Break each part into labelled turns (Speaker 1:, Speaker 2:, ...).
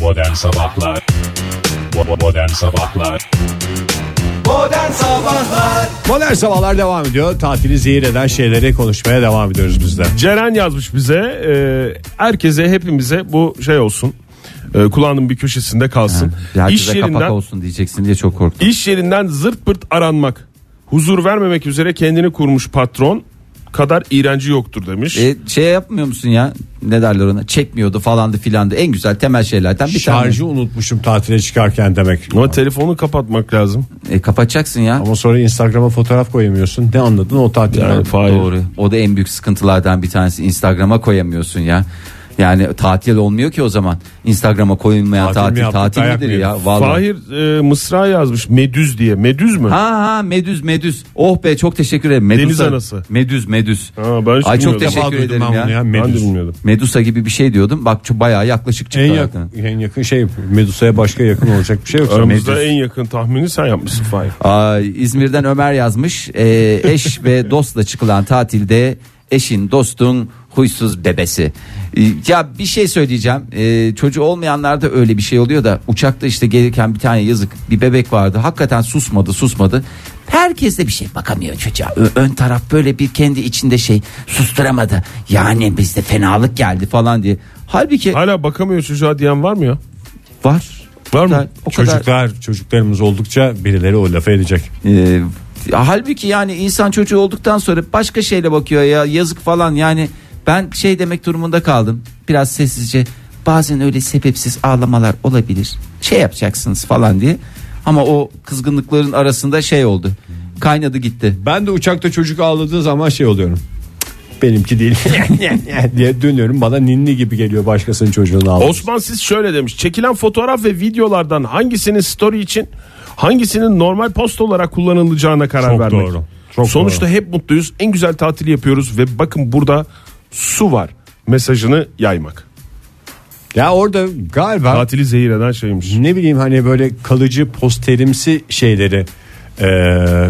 Speaker 1: Modern Sabahlar Bo- Modern Sabahlar
Speaker 2: Modern Sabahlar
Speaker 3: Modern Sabahlar devam ediyor. Tatili zehir eden şeyleri konuşmaya devam ediyoruz biz de.
Speaker 4: Ceren yazmış bize. e, herkese hepimize bu şey olsun. E, kulağının bir köşesinde kalsın. iş
Speaker 2: Herkese kapak
Speaker 4: yerinden
Speaker 2: olsun diyeceksin diye çok korktum.
Speaker 4: iş yerinden zırt pırt aranmak. Huzur vermemek üzere kendini kurmuş patron kadar iğrenci yoktur demiş.
Speaker 2: E, şey yapmıyor musun ya ne derler ona çekmiyordu falandı filandı en güzel temel şeylerden bir
Speaker 3: Şarjı unutmuşum tatile çıkarken demek.
Speaker 4: Ama telefonu kapatmak lazım.
Speaker 2: tane. E, kapatacaksın ya.
Speaker 3: Ama sonra Instagram'a fotoğraf koyamıyorsun. Ne anladın o tatilden?
Speaker 4: Yani Fahir.
Speaker 2: Doğru. O da en büyük sıkıntılardan bir tanesi Instagram'a koyamıyorsun ya. Yani tatil olmuyor ki o zaman. Instagram'a koyulmayan
Speaker 3: Tatil mi
Speaker 2: tatil tatil,
Speaker 3: yaptık, dayak
Speaker 2: midir
Speaker 3: mı
Speaker 2: ya?
Speaker 3: yedik?
Speaker 2: Vallahi.
Speaker 4: Fahir e, Mısra yazmış Medüz diye. Medüz mü?
Speaker 2: Ha ha medüz medüz. Oh be çok teşekkür ederim. Medusa,
Speaker 4: Deniz anası.
Speaker 2: Medüz medüz.
Speaker 4: Ha, ben hiç
Speaker 2: Ay
Speaker 4: bilmiyordum.
Speaker 2: çok
Speaker 3: İlk defa
Speaker 2: teşekkür
Speaker 3: duydum
Speaker 2: ederim
Speaker 3: ben
Speaker 2: ya.
Speaker 3: bunu ya.
Speaker 4: Ben de
Speaker 3: Medüs.
Speaker 4: bilmiyordum.
Speaker 2: Medusa gibi bir şey diyordum. Bak çok bayağı yaklaşık çıktı.
Speaker 3: En
Speaker 2: hakikaten.
Speaker 3: yakın, en yakın şey Medusa'ya başka yakın olacak bir şey yok.
Speaker 4: Aramızda
Speaker 2: Medüz.
Speaker 4: en yakın tahmini sen yapmışsın Fahir.
Speaker 2: Ay, İzmir'den Ömer yazmış. Ee, eş ve dostla çıkılan tatilde eşin dostun huysuz bebesi. Ee, Ya bir şey söyleyeceğim. Ee, çocuğu olmayanlarda öyle bir şey oluyor da uçakta işte gelirken bir tane yazık bir bebek vardı. Hakikaten susmadı susmadı. Herkes de bir şey bakamıyor çocuğa. Ö- ön taraf böyle bir kendi içinde şey susturamadı. Yani bizde fenalık geldi falan diye. Halbuki
Speaker 4: Hala bakamıyor çocuğa diyen var mı ya?
Speaker 2: var.
Speaker 4: Var mı?
Speaker 2: Da- O kadar
Speaker 3: Çocuklar, çocuklarımız oldukça birileri o lafı edecek.
Speaker 2: Ee, halbuki yani insan çocuğu olduktan sonra başka şeyle bakıyor ya yazık falan yani ben şey demek durumunda kaldım biraz sessizce bazen öyle sebepsiz ağlamalar olabilir şey yapacaksınız falan diye ama o kızgınlıkların arasında şey oldu kaynadı gitti
Speaker 3: Ben de uçakta çocuk ağladığı zaman şey oluyorum. Benimki değil diye dönüyorum. Bana ninni gibi geliyor başkasının çocuğunu ağlaması.
Speaker 4: Osman siz şöyle demiş. Çekilen fotoğraf ve videolardan hangisinin story için hangisinin normal post olarak kullanılacağına karar
Speaker 3: Çok
Speaker 4: vermek.
Speaker 3: doğru, çok
Speaker 4: Sonuçta
Speaker 3: doğru.
Speaker 4: hep mutluyuz. En güzel tatili yapıyoruz ve bakın burada su var mesajını yaymak.
Speaker 3: Ya orada galiba
Speaker 4: Tatili zehir eden şeymiş.
Speaker 3: ne bileyim hani böyle kalıcı posterimsi şeyleri e,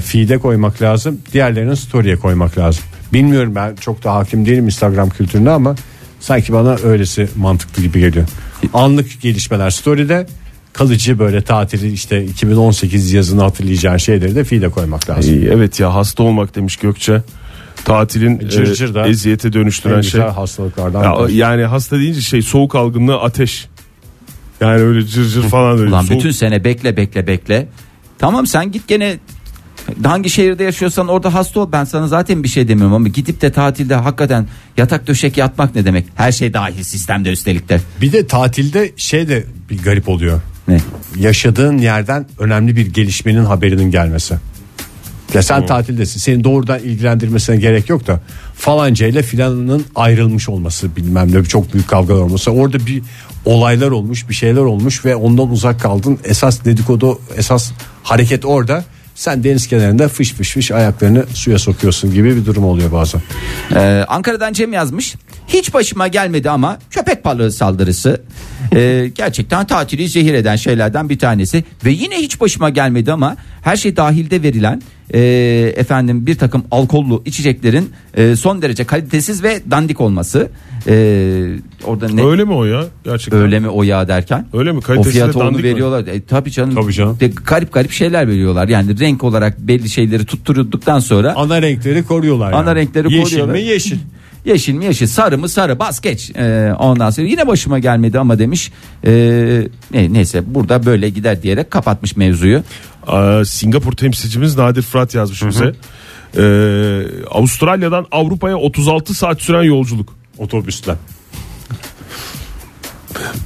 Speaker 3: feed'e koymak lazım. Diğerlerinin story'e koymak lazım. Bilmiyorum ben çok da hakim değilim Instagram kültürüne ama sanki bana öylesi mantıklı gibi geliyor. Anlık gelişmeler story'de kalıcı böyle tatili işte 2018 yazını hatırlayacağın şeyleri de feed'e koymak lazım.
Speaker 4: İyi, Evet ya hasta olmak demiş Gökçe. Tatilin
Speaker 3: Cır cır da
Speaker 4: e, eziyete
Speaker 3: En
Speaker 4: dönüştüren şey.
Speaker 3: güzel hastalıklardan.
Speaker 4: Ya,
Speaker 3: biri.
Speaker 4: yani hasta deyince şey soğuk algınlığı ateş. Yani öyle cır cır falan öyle.
Speaker 2: ulan
Speaker 4: soğuk-
Speaker 2: bütün sene bekle bekle bekle tamam sen git gene hangi şehirde yaşıyorsan orada hasta ol ben sana zaten bir şey demiyorum ama gidip de tatilde hakikaten yatak döşek yatmak ne demek her şey dahil sistemde üstelik de
Speaker 3: Bir de tatilde şey de bir garip oluyor.
Speaker 2: Ne?
Speaker 3: yaşadığın yerden önemli bir gelişmenin haberinin gelmesi. Ya sen tatildesin. Seni doğrudan ilgilendirmesine gerek yok da falanca ile filanının ayrılmış olması bilmem ne çok büyük kavgalar olması. Orada bir olaylar olmuş bir şeyler olmuş ve ondan uzak kaldın. Esas dedikodu esas hareket orada. Sen deniz kenarında fış fış fış ayaklarını suya sokuyorsun gibi bir durum oluyor bazen.
Speaker 2: Ee, Ankara'dan Cem yazmış. Hiç başıma gelmedi ama köpek balığı saldırısı ee, gerçekten tatili zehir eden şeylerden bir tanesi ve yine hiç başıma gelmedi ama her şey dahilde verilen ee, efendim bir takım alkollü içeceklerin ee, son derece kalitesiz ve dandik olması Ee, orada ne öyle,
Speaker 4: Öyle mi o ya? Gerçekten.
Speaker 2: mi o ya derken
Speaker 4: Öyle mi?
Speaker 2: o
Speaker 4: Kalitesi de
Speaker 2: fiyata onu
Speaker 4: dandik mi?
Speaker 2: veriyorlar. E, tabii canım.
Speaker 3: Tabii canım.
Speaker 2: De, garip garip şeyler veriyorlar. Yani renk olarak belli şeyleri tutturduktan sonra
Speaker 3: Ana renkleri koruyorlar.
Speaker 2: Ana renkleri
Speaker 3: yeşil
Speaker 2: koruyorlar.
Speaker 3: mi yeşil.
Speaker 2: Yeşil mi yeşil sarı mı sarı bas geç Ee, ondan sonra yine başıma gelmedi ama demiş Ee, ne, neyse burada böyle gider diyerek kapatmış mevzuyu
Speaker 4: Aa, Singapur temsilcimiz Nadir Fırat yazmış bize. Ee, Avustralya'dan Avrupa'ya 36 saat süren yolculuk.
Speaker 3: Otobüsten.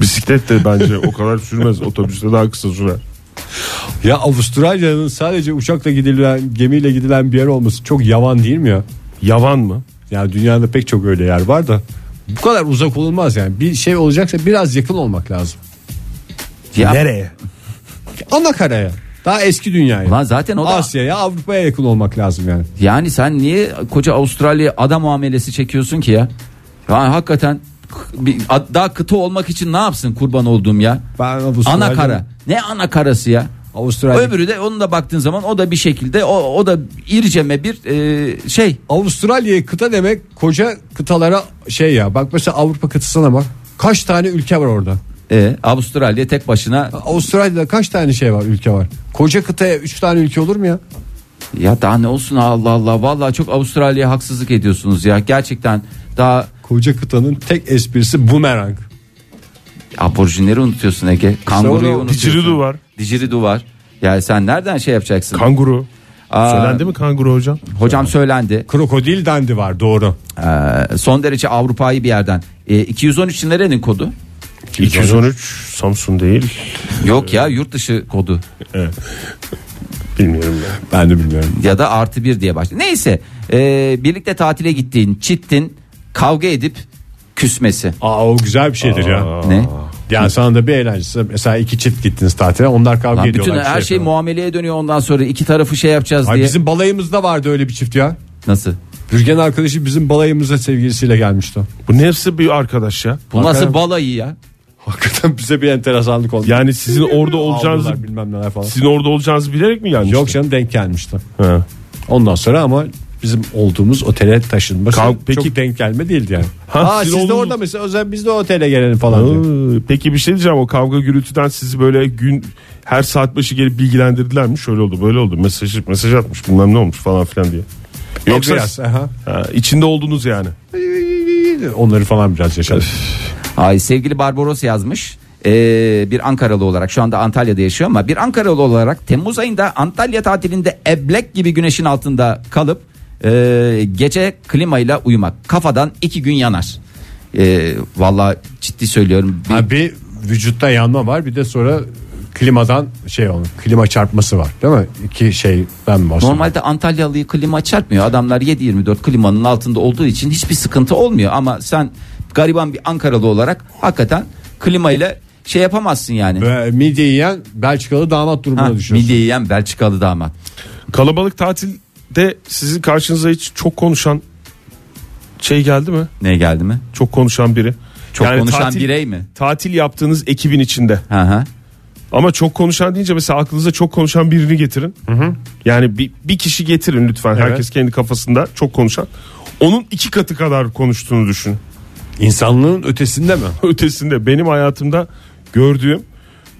Speaker 4: Bisiklet de bence o kadar sürmez. Otobüste daha kısa sürer.
Speaker 3: Ya Avustralya'nın sadece uçakla gidilen gemiyle gidilen bir yer olması çok yavan değil mi ya?
Speaker 4: Yavan mı?
Speaker 3: Yani dünyada pek çok öyle yer var da bu kadar uzak olmaz yani. Bir şey olacaksa biraz yakın olmak lazım.
Speaker 2: ya,
Speaker 4: Nereye?
Speaker 3: Ana karaya. Daha eski dünyaya.
Speaker 2: Lan zaten o da-
Speaker 3: Asya'ya, Avrupa'ya yakın olmak lazım yani.
Speaker 2: yani sen niye koca Avustralya adam muamelesi çekiyorsun ki ya yani hakikaten bir- a- daha kıta olmak için ne yapsın kurban olduğum ya
Speaker 3: Ben
Speaker 2: ana kara ne ana karası ya
Speaker 3: Avustralya.
Speaker 2: öbürü de onun da baktığın zaman o da bir şekilde o, o da irceme bir e, şey
Speaker 3: Avustralya'ya kıta demek koca kıtalara şey ya. Bak mesela Avrupa kıtasına bak. Kaç tane ülke var orada?
Speaker 2: E, Avustralya tek başına
Speaker 3: Avustralya'da kaç tane şey var ülke var? Koca kıtaya 3 tane ülke olur mu ya?
Speaker 2: ya daha ne olsun Allah Allah vallahi çok Avustralya'ya haksızlık ediyorsunuz ya gerçekten daha
Speaker 3: Koca kıtanın tek esprisi bumerang.
Speaker 2: aborjinleri unutuyorsun Ege kanguruyu
Speaker 3: onu-
Speaker 2: unutuyorsun
Speaker 4: Didgeridoo var.
Speaker 2: Didgeridoo var yani sen nereden şey yapacaksın
Speaker 4: Kanguru.
Speaker 2: Aa.
Speaker 4: Söylendi mi kanguru hocam?
Speaker 2: hocam söylendi
Speaker 3: Krokodil dendi var doğru.
Speaker 2: Ee, son derece Avrupa'yı bir yerden e, 213 nerenin kodu
Speaker 4: 213 Samsun değil.
Speaker 2: yok ya yurt dışı kodu
Speaker 4: Bilmiyorum ya.
Speaker 3: Ben de bilmiyorum.
Speaker 2: ya da artı bir diye başlıyor. Neyse e, birlikte tatile gittiğin çittin kavga edip küsmesi.
Speaker 3: Aa o güzel bir şeydir ya.
Speaker 2: Ne?
Speaker 3: Yani sana da bir eğlencesi. Mesela iki çift gittiniz tatile onlar kavga
Speaker 2: Lan bütün
Speaker 3: ediyorlar. bir
Speaker 2: her şey
Speaker 3: yapıyorlar.
Speaker 2: muameleye dönüyor ondan sonra iki tarafı şey yapacağız
Speaker 3: Ay,
Speaker 2: diye.
Speaker 3: bizim balayımızda vardı öyle bir çift ya.
Speaker 2: Nasıl?
Speaker 3: Bürgen arkadaşı bizim balayımıza sevgilisiyle gelmişti.
Speaker 4: Bu neresi bir arkadaş ya?
Speaker 2: Bu nasıl balayı ya?
Speaker 3: Hakikaten bize bir enteresanlık oldu.
Speaker 4: Yani sizin orada olacağınızı
Speaker 3: Avlular, bilmem neler falan.
Speaker 4: sizin orada olacağınızı bilerek mi gelmişti?
Speaker 3: Yok canım denk gelmişti.
Speaker 4: Ha.
Speaker 3: Ondan sonra ama bizim olduğumuz otele taşınması
Speaker 4: Kav- peki-
Speaker 3: çok denk gelme değildi yani.
Speaker 4: Ha,
Speaker 3: Aa,
Speaker 4: siz
Speaker 3: siz, de
Speaker 4: oldunuz-
Speaker 3: orada mesela özel biz de otele gelelim falan
Speaker 4: Aa,
Speaker 3: diyor.
Speaker 4: Peki bir şey diyeceğim o kavga gürültüden sizi böyle gün her saat başı gelip bilgilendirdiler mi? Şöyle oldu böyle oldu mesaj, mesaj atmış bilmem ne olmuş falan filan diye. Yoksa
Speaker 3: Biraz, aha.
Speaker 4: Ha, içinde oldunuz yani.
Speaker 3: Onları falan biraz yaşadık.
Speaker 2: Ay sevgili Barbaros yazmış. Ee, bir Ankaralı olarak şu anda Antalya'da yaşıyor ama bir Ankaralı olarak Temmuz ayında Antalya tatilinde eblek gibi güneşin altında kalıp e, gece klimayla uyumak kafadan iki gün yanar. E, Valla ciddi söylüyorum. Bir-
Speaker 3: Ha, bir vücutta yanma var bir de sonra klimadan şey olmuş klima çarpması var değil mi? İki şeyden bahsediyorum.
Speaker 2: Normalde Antalyalı'yı klima çarpmıyor. Adamlar 7-24 klimanın altında olduğu için hiçbir sıkıntı olmuyor. Ama sen gariban bir Ankaralı olarak hakikaten klimayla şey yapamazsın yani.
Speaker 3: Ve midye yiyen Belçikalı damat durumuna
Speaker 2: Ha,
Speaker 3: düşüyorsun.
Speaker 2: midye yiyen Belçikalı damat.
Speaker 4: Kalabalık tatilde sizin karşınıza hiç çok konuşan şey geldi mi?
Speaker 2: Ne geldi mi?
Speaker 4: Çok konuşan biri.
Speaker 2: Çok
Speaker 4: Yani
Speaker 2: konuşan
Speaker 4: tatil-
Speaker 2: birey mi?
Speaker 4: Tatil yaptığınız ekibin içinde.
Speaker 2: Hı hı.
Speaker 4: Ama çok konuşan deyince mesela aklınıza çok konuşan birini getirin. Yani bir, bir kişi getirin lütfen. Herkes kendi kafasında çok konuşan. Onun iki katı kadar konuştuğunu düşün.
Speaker 3: İnsanlığın ötesinde mi?
Speaker 4: Ötesinde benim hayatımda gördüğüm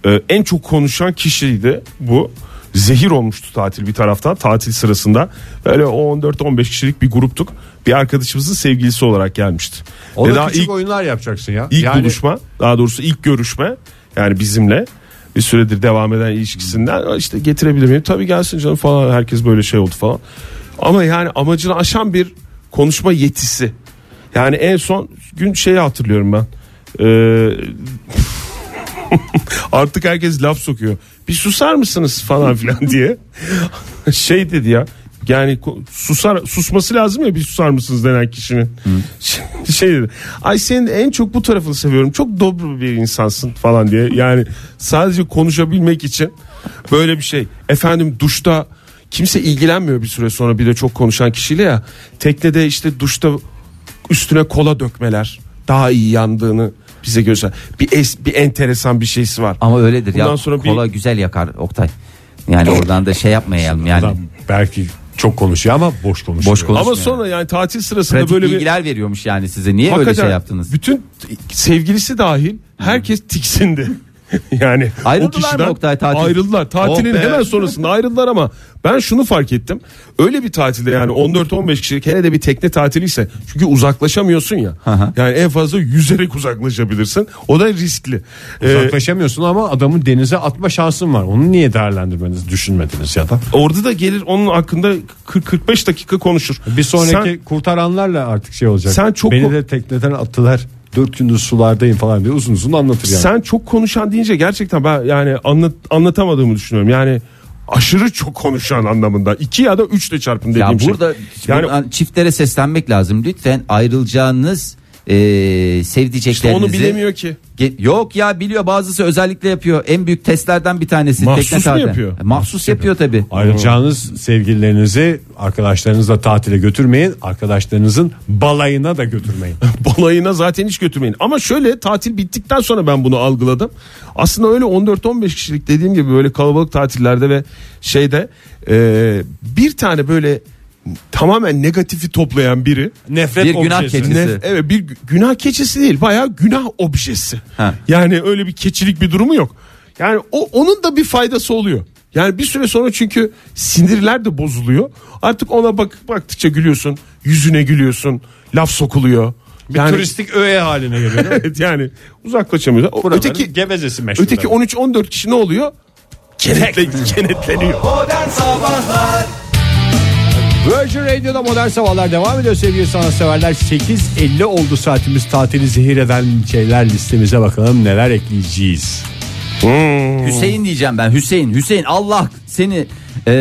Speaker 4: e, en çok konuşan kişiydi bu. Zehir olmuştu tatil bir taraftan tatil sırasında. Böyle 14-15 kişilik bir gruptuk. Bir arkadaşımızın sevgilisi olarak gelmişti. Ve
Speaker 3: Ona
Speaker 4: daha
Speaker 3: küçük
Speaker 4: ilk-
Speaker 3: oyunlar yapacaksın ya.
Speaker 4: İlk
Speaker 3: Yani
Speaker 4: buluşma daha doğrusu ilk görüşme yani bizimle bir süredir devam eden ilişkisinden "Aa, işte getirebilir miyim? Tabii gelsin canım falan herkes böyle şey oldu falan. Ama yani amacını aşan bir konuşma yetisi. Yani en son gün şeyi hatırlıyorum ben. Ee, artık herkes laf sokuyor. Bir susar mısınız falan filan diye. şey dedi ya. Yani ko- susar susması lazım ya bir susar mısınız denen kişinin. şey dedi. Ay senin en çok bu tarafını seviyorum. Çok dobro bir insansın falan diye. Yani sadece konuşabilmek için böyle bir şey. Efendim duşta kimse ilgilenmiyor bir süre sonra bir de çok konuşan kişiyle ya. Teknede işte duşta üstüne kola dökmeler daha iyi yandığını bize göster. Bir es, bir enteresan bir şeysi var.
Speaker 2: Ama öyledir
Speaker 4: Bundan
Speaker 2: ya.
Speaker 4: sonra bir-
Speaker 2: Kola güzel yakar Oktay. Yani oradan da şey yapmayalım yani.
Speaker 3: adam belki çok konuşuyor ama boş konuşuyor.
Speaker 2: Boş konuşma.
Speaker 4: Ama sonra yani tatil sırasında
Speaker 2: Pratik
Speaker 4: böyle bir
Speaker 2: bilgiler veriyormuş yani size. Niye böyle
Speaker 4: Hakikaten
Speaker 2: şey yaptınız?
Speaker 4: Bütün sevgilisi dahil herkes tiksindi. yani
Speaker 2: Ayrıldılar
Speaker 4: o kişiden
Speaker 2: mı Oktay tatil?
Speaker 4: ayrıldılar. Tatilin
Speaker 2: Oh be.
Speaker 4: hemen sonrasında ayrıldılar ama ben şunu fark ettim. Öyle bir tatilde yani 14-15 kişilik hele de bir tekne tatiliyse çünkü uzaklaşamıyorsun ya.
Speaker 2: hı.
Speaker 4: yani en fazla yüzerek uzaklaşabilirsin. O da riskli. Ee,
Speaker 3: Uzaklaşamıyorsun ama adamı denize atma şansın var. Onu niye değerlendirmeniz düşünmediniz ya da?
Speaker 4: Ee, Orada da gelir onun hakkında 40-45 dakika konuşur.
Speaker 3: Bir sonraki
Speaker 4: Sen-
Speaker 3: kurtaranlarla artık şey olacak.
Speaker 4: Sen çok-
Speaker 3: Beni de tekneden attılar. Dört gündür sulardayım falan diye uzun uzun anlatır yani.
Speaker 4: Sen çok konuşan deyince gerçekten ben yani anlat, anlatamadığımı düşünüyorum. Yani aşırı çok konuşan anlamında. 2 ya da 3 de çarpın dediğim
Speaker 2: Ya
Speaker 4: şey.
Speaker 2: burada
Speaker 4: yani
Speaker 2: buradan çiftlere seslenmek lazım. Lütfen ayrılacağınız e, sevdiceklerinizi.
Speaker 4: işte onu bilemiyor ki.
Speaker 2: Ge- Yok ya biliyor bazısı özellikle yapıyor. En büyük testlerden bir tanesi.
Speaker 4: Mahsus
Speaker 2: tekne
Speaker 4: mu
Speaker 2: tatili.
Speaker 4: yapıyor?
Speaker 2: E, Mahsus, yapıyor tabi.
Speaker 3: Ayrılacağınız sevgililerinizi arkadaşlarınızla tatile götürmeyin. Arkadaşlarınızın balayına da götürmeyin.
Speaker 4: Balayına zaten hiç götürmeyin. Ama şöyle tatil bittikten sonra ben bunu algıladım. Aslında öyle 14-15 kişilik dediğim gibi böyle kalabalık tatillerde ve şeyde e, bir tane böyle tamamen negatifi toplayan biri.
Speaker 3: Nefret
Speaker 2: Bir günah
Speaker 3: objesi.
Speaker 2: keçi. Keçisi.
Speaker 4: Nef- evet bir gü- günah keçisi değil bayağı günah objesi.
Speaker 2: Ha.
Speaker 4: Yani öyle bir keçilik bir durumu yok. Yani o onun da bir faydası oluyor. Yani bir süre sonra çünkü sinirler de bozuluyor. Artık ona bak baktıkça gülüyorsun, yüzüne gülüyorsun, laf sokuluyor.
Speaker 3: Bir turistik öğe haline geliyor. değil mi?
Speaker 4: evet yani uzaklaşamıyor. O-
Speaker 3: Buraların
Speaker 4: Öteki
Speaker 3: gebezesi meşhur.
Speaker 4: öteki 13 14 kişi ne oluyor? Kenetle, kenetleniyor.
Speaker 3: Virgin Radio'da modern sabahlar devam ediyor sevgili sanatseverler. 8.50 oldu saatimiz tatili zehir eden şeyler listemize bakalım neler ekleyeceğiz.
Speaker 2: Hüseyin diyeceğim ben Hüseyin Hüseyin Allah seni e,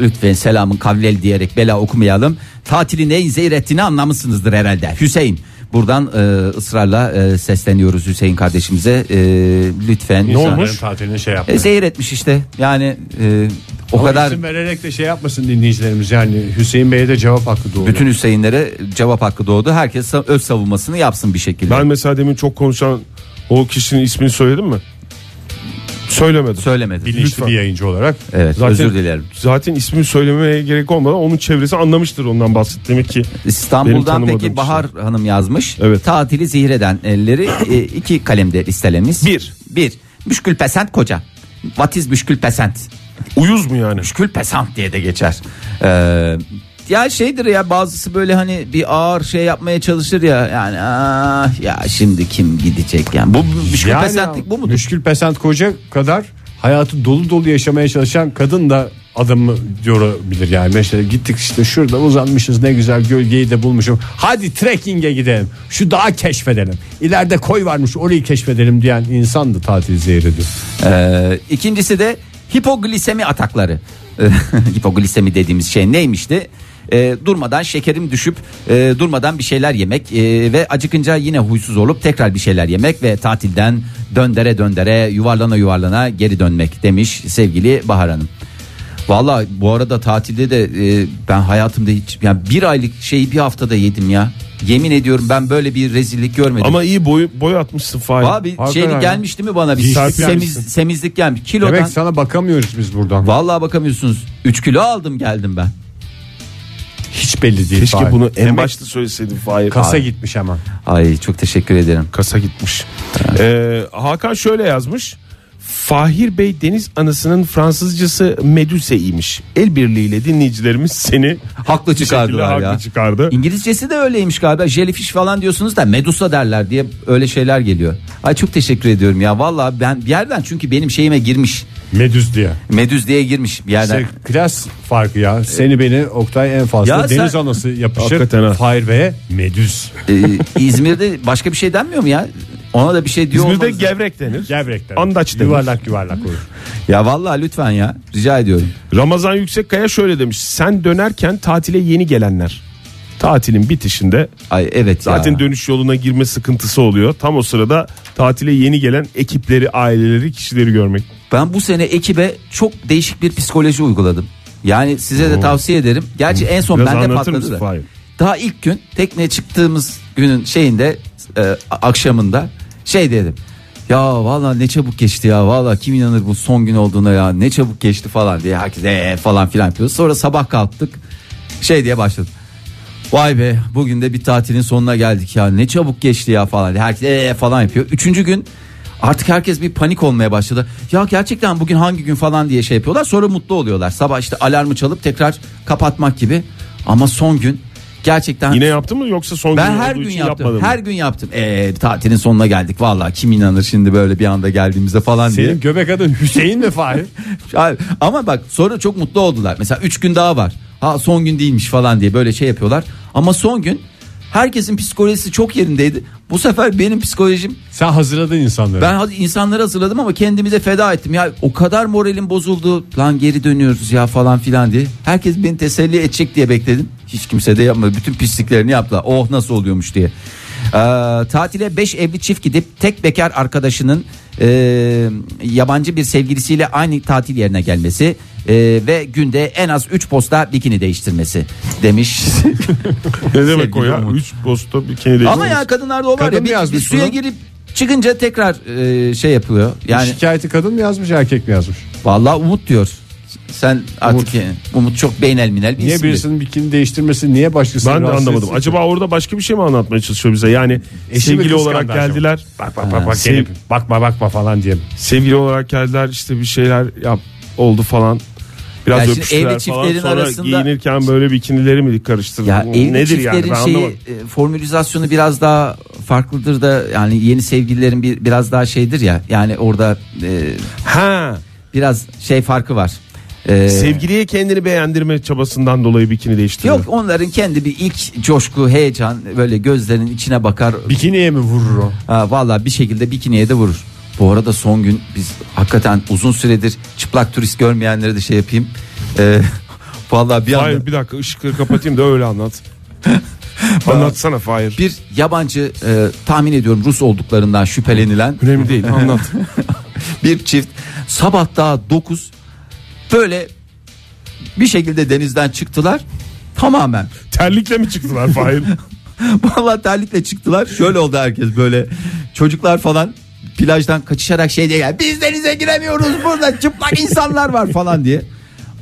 Speaker 2: lütfen selamın kavlel diyerek bela okumayalım. Tatili neyin zehir ettiğini anlamışsınızdır herhalde Hüseyin. Buradan e, ısrarla e, sesleniyoruz Hüseyin kardeşimize E, lütfen.
Speaker 3: Ne
Speaker 2: Lütfen.
Speaker 3: olmuş? Tatilini şey yapma.
Speaker 2: E, zehir etmiş işte yani e, o kadar
Speaker 3: İsim vererek de şey yapmasın dinleyicilerimiz yani Hüseyin Bey'e de cevap hakkı doğuyor.
Speaker 2: bütün Hüseyinlere cevap hakkı doğdu. Herkes sa- öz savunmasını yapsın bir şekilde.
Speaker 4: Ben mesela demin çok konuşan o kişinin ismini söyledim mi? Söylemedim.
Speaker 2: Söylemedim.
Speaker 3: bilinçli
Speaker 4: Lütfen.
Speaker 3: bir yayıncı olarak.
Speaker 2: Evet
Speaker 4: Zaten-
Speaker 2: özür dilerim.
Speaker 4: Zaten ismini söylemeye gerek olmadan onun çevresi anlamıştır ondan bahsettiğimi ki. Benim
Speaker 2: İstanbul'dan
Speaker 4: tanımadığım şey.
Speaker 2: peki Bahar Hanım yazmış.
Speaker 4: Evet.
Speaker 2: Tatili zehir eden elleri e, iki kalemde listelemiş.
Speaker 4: Bir.
Speaker 2: Bir. Müşkül pesent koca. What is müşkül pesent?
Speaker 4: Uyuz mu yani?
Speaker 2: Müşkül pesent diye de geçer. Ee, ya şeydir ya bazısı böyle hani bir ağır şey yapmaya çalışır ya yani ah, ya şimdi kim gidecek yani bu bu müşkül
Speaker 3: Yani
Speaker 2: pesentlik bu mudur?
Speaker 3: Müşkül pesent koca kadar hayatı dolu dolu yaşamaya çalışan kadın da adamı diyor bilir yani. Mesela gittik işte şurada uzanmışız ne güzel gölgeyi de bulmuşum. Hadi trekkinge gidelim. Şu dağı keşfedelim. İleride koy varmış orayı keşfedelim diyen insan da tatil zehri ediyor.
Speaker 2: Ee, ikincisi de hipoglisemi atakları. hipoglisemi dediğimiz şey neymişti? Ee, durmadan şekerim düşüp e, durmadan bir şeyler yemek e, ve acıkınca yine huysuz olup tekrar bir şeyler yemek ve tatilden döndere döndere yuvarlana yuvarlana geri dönmek demiş sevgili Bahar Hanım. Valla bu arada tatilde de e, ben hayatımda hiç yani bir aylık şeyi bir haftada yedim ya. Yemin ediyorum ben böyle bir rezillik görmedim.
Speaker 4: Ama iyi boy, boy atmışsın Fahir.
Speaker 2: Abi
Speaker 3: Hakikaten
Speaker 2: şey
Speaker 3: ya.
Speaker 2: gelmiş değil mi bana bir
Speaker 4: Serpilmişsin.
Speaker 2: semiz, semizlik gelmiş. Kilodan
Speaker 3: Demek sana bakamıyoruz biz buradan.
Speaker 2: Vallahi bakamıyorsunuz. 3 kilo aldım geldim ben.
Speaker 3: Hiç belli değil.
Speaker 4: Keşke
Speaker 3: Fahir.
Speaker 4: bunu e- en
Speaker 3: Demek
Speaker 4: başta söyleseydin Fahir.
Speaker 3: kasa gitmiş hemen.
Speaker 2: Ay çok teşekkür ederim.
Speaker 4: Kasa gitmiş. Ee, Hakan şöyle yazmış. Fahir Bey Deniz Anası'nın Fransızcası Meduse'ymiş. El birliğiyle dinleyicilerimiz seni
Speaker 2: Haklı
Speaker 4: bir şekilde
Speaker 2: çıkardılar ya.
Speaker 4: haklı çıkardı.
Speaker 2: İngilizcesi de öyleymiş galiba. Jellyfish falan diyorsunuz da medusa derler diye öyle şeyler geliyor. Ay çok teşekkür ediyorum ya. Vallahi ben bir yerden çünkü benim şeyime girmiş.
Speaker 3: Medüz diye.
Speaker 2: Medüz diye girmiş bir yerden.
Speaker 4: Şey-
Speaker 3: İşte klas farkı ya. Seni beni Oktay en fazla
Speaker 2: Ya sen-
Speaker 3: deniz anası yapışır.
Speaker 4: Hakikaten ha.
Speaker 3: Fahir Bey'e medüz.
Speaker 2: Ee, İzmir'de başka bir şey denmiyor mu ya? Ona da bir şey diyor
Speaker 4: İzmir'de
Speaker 2: olmanız-
Speaker 4: gevrek denir.
Speaker 3: Gevrekten.
Speaker 4: Andaç denir.
Speaker 3: Yuvarlak yuvarlak olur.
Speaker 2: Ya vallahi lütfen ya. Rica ediyorum.
Speaker 4: Ramazan Yüksekkaya şöyle demiş. Sen dönerken tatile yeni gelenler. Tatilin bitişinde
Speaker 2: Ay evet
Speaker 4: zaten
Speaker 2: ya.
Speaker 4: dönüş yoluna girme sıkıntısı oluyor. Tam o sırada tatile yeni gelen ekipleri, aileleri, kişileri görmek.
Speaker 2: Ben bu sene ekibe çok değişik bir psikoloji uyguladım. Yani size de tavsiye ederim. Gerçi en son
Speaker 4: Biraz
Speaker 2: bende
Speaker 4: anlatır
Speaker 2: patladı
Speaker 4: mısın
Speaker 2: da.
Speaker 4: Fahir?
Speaker 2: Daha ilk gün tekneye çıktığımız günün şeyinde e, akşamında şey dedim. Ya valla ne çabuk geçti ya valla kim inanır bu son gün olduğuna ya ne çabuk geçti falan diye herkes "Ee" falan filan yapıyor. Sonra sabah kalktık şey diye başladım. Vay be bugün de bir tatilin sonuna geldik ya ne çabuk geçti ya falan diye herkes "Ee" falan yapıyor. Üçüncü gün artık herkes bir panik olmaya başladı. Ya gerçekten bugün hangi gün falan diye şey yapıyorlar sonra mutlu oluyorlar. Sabah işte alarmı çalıp tekrar kapatmak gibi ama son gün gerçekten
Speaker 4: Yine yaptın mı yoksa son
Speaker 2: ben
Speaker 4: gün
Speaker 2: her
Speaker 4: olduğu
Speaker 2: gün
Speaker 4: için
Speaker 2: yaptım.
Speaker 4: yapmadın
Speaker 2: Her
Speaker 4: mı?
Speaker 2: gün yaptım. Ee, tatilin sonuna geldik vallahi kim inanır şimdi böyle bir anda geldiğimizde falan diye.
Speaker 3: Senin göbek adın Hüseyin mi Fahir?
Speaker 2: Abi, Ama bak sonra çok mutlu oldular. Mesela 3 gün daha var. Ha son gün değilmiş falan diye böyle şey yapıyorlar. Ama son gün herkesin psikolojisi çok yerindeydi. Bu sefer benim psikolojim
Speaker 3: Sen hazırladın insanları.
Speaker 2: ben hadi insanları hazırladım ama kendimize feda ettim. Ya o kadar moralim bozuldu. Lan geri dönüyoruz ya falan filan diye. Herkes beni teselli edecek diye bekledim. Hiç kimse de yapmadı. Bütün pisliklerini yaptılar. Oh nasıl oluyormuş diye. Ee, tatile 5 evli çift gidip tek bekar arkadaşının e, yabancı bir sevgilisiyle aynı tatil yerine gelmesi e, ve günde en az 3 posta bikini değiştirmesi demiş.
Speaker 4: Ne demek o ya?
Speaker 2: Umut.
Speaker 4: 3 posta bir kere
Speaker 2: Ama ya kadınlarda o var
Speaker 3: Kadın
Speaker 2: ya
Speaker 3: mı
Speaker 2: bir, bir
Speaker 3: yazmış
Speaker 2: suya
Speaker 3: bunu?
Speaker 2: girip çıkınca tekrar e, şey yapıyor.
Speaker 3: yani...
Speaker 2: Yani
Speaker 3: Şikayeti kadın mı yazmış erkek mi yazmış?
Speaker 2: Vallahi Umut diyor. Sen artık Umut, çok beynel minel bir
Speaker 3: Niye
Speaker 2: isimdir.
Speaker 3: birisinin bikini değiştirmesi niye başkasını
Speaker 4: Ben de
Speaker 3: rahatsız
Speaker 4: anlamadım.
Speaker 3: etsin ki?
Speaker 4: Acaba orada başka bir şey mi anlatmaya çalışıyor bize? Yani
Speaker 3: Eşi mi
Speaker 4: sevgili
Speaker 3: kıskandı
Speaker 4: olarak
Speaker 3: acaba?
Speaker 4: geldiler. Bak bak bak bak.
Speaker 3: Sev-
Speaker 4: gelip-
Speaker 3: bakma bakma falan diye.
Speaker 4: sevgili olarak geldiler işte bir şeyler yap oldu falan. Biraz
Speaker 2: Ya şimdi
Speaker 4: öpüştüler
Speaker 2: evli
Speaker 4: falan.
Speaker 2: çiftlerin
Speaker 4: Sonra
Speaker 2: arasında-
Speaker 4: giyinirken böyle bikinileri mi karıştırdı?
Speaker 2: Ya
Speaker 4: Bu
Speaker 2: evli
Speaker 4: Nedir yani
Speaker 2: çiftlerin
Speaker 4: ben anlamadım.
Speaker 2: şeyi e, formülizasyonu biraz daha farklıdır da yani yeni sevgililerin bir, biraz daha şeydir ya yani orada e,
Speaker 4: Ha,
Speaker 2: biraz şey farkı var. E,
Speaker 4: sevgiliye kendini beğendirme çabasından dolayı bikini değiştirdi.
Speaker 2: Yok onların kendi bir ilk coşku, heyecan böyle gözlerinin içine bakar.
Speaker 3: Bikiniye mi vurur o?
Speaker 2: Ha, vallahi bir şekilde bikiniye de vurur. Bu arada son gün biz hakikaten uzun süredir çıplak turist görmeyenlere de şey yapayım. E, vallahi bir anda
Speaker 4: Hayır bir dakika ışıkları kapatayım da öyle anlat. Anlatsana Fahir.
Speaker 2: Ee, bir yabancı e, tahmin ediyorum Rus olduklarından şüphelenilen
Speaker 4: Önemli değil anlat.
Speaker 2: bir çift sabah daha 9 böyle bir şekilde denizden çıktılar. Tamamen.
Speaker 4: Terlikle mi çıktılar Fahir?
Speaker 2: Vallahi terlikle çıktılar. Şöyle oldu herkes böyle. Çocuklar falan plajdan kaçışarak şey diye geldi. Biz denize giremiyoruz burada çıplak insanlar var falan diye.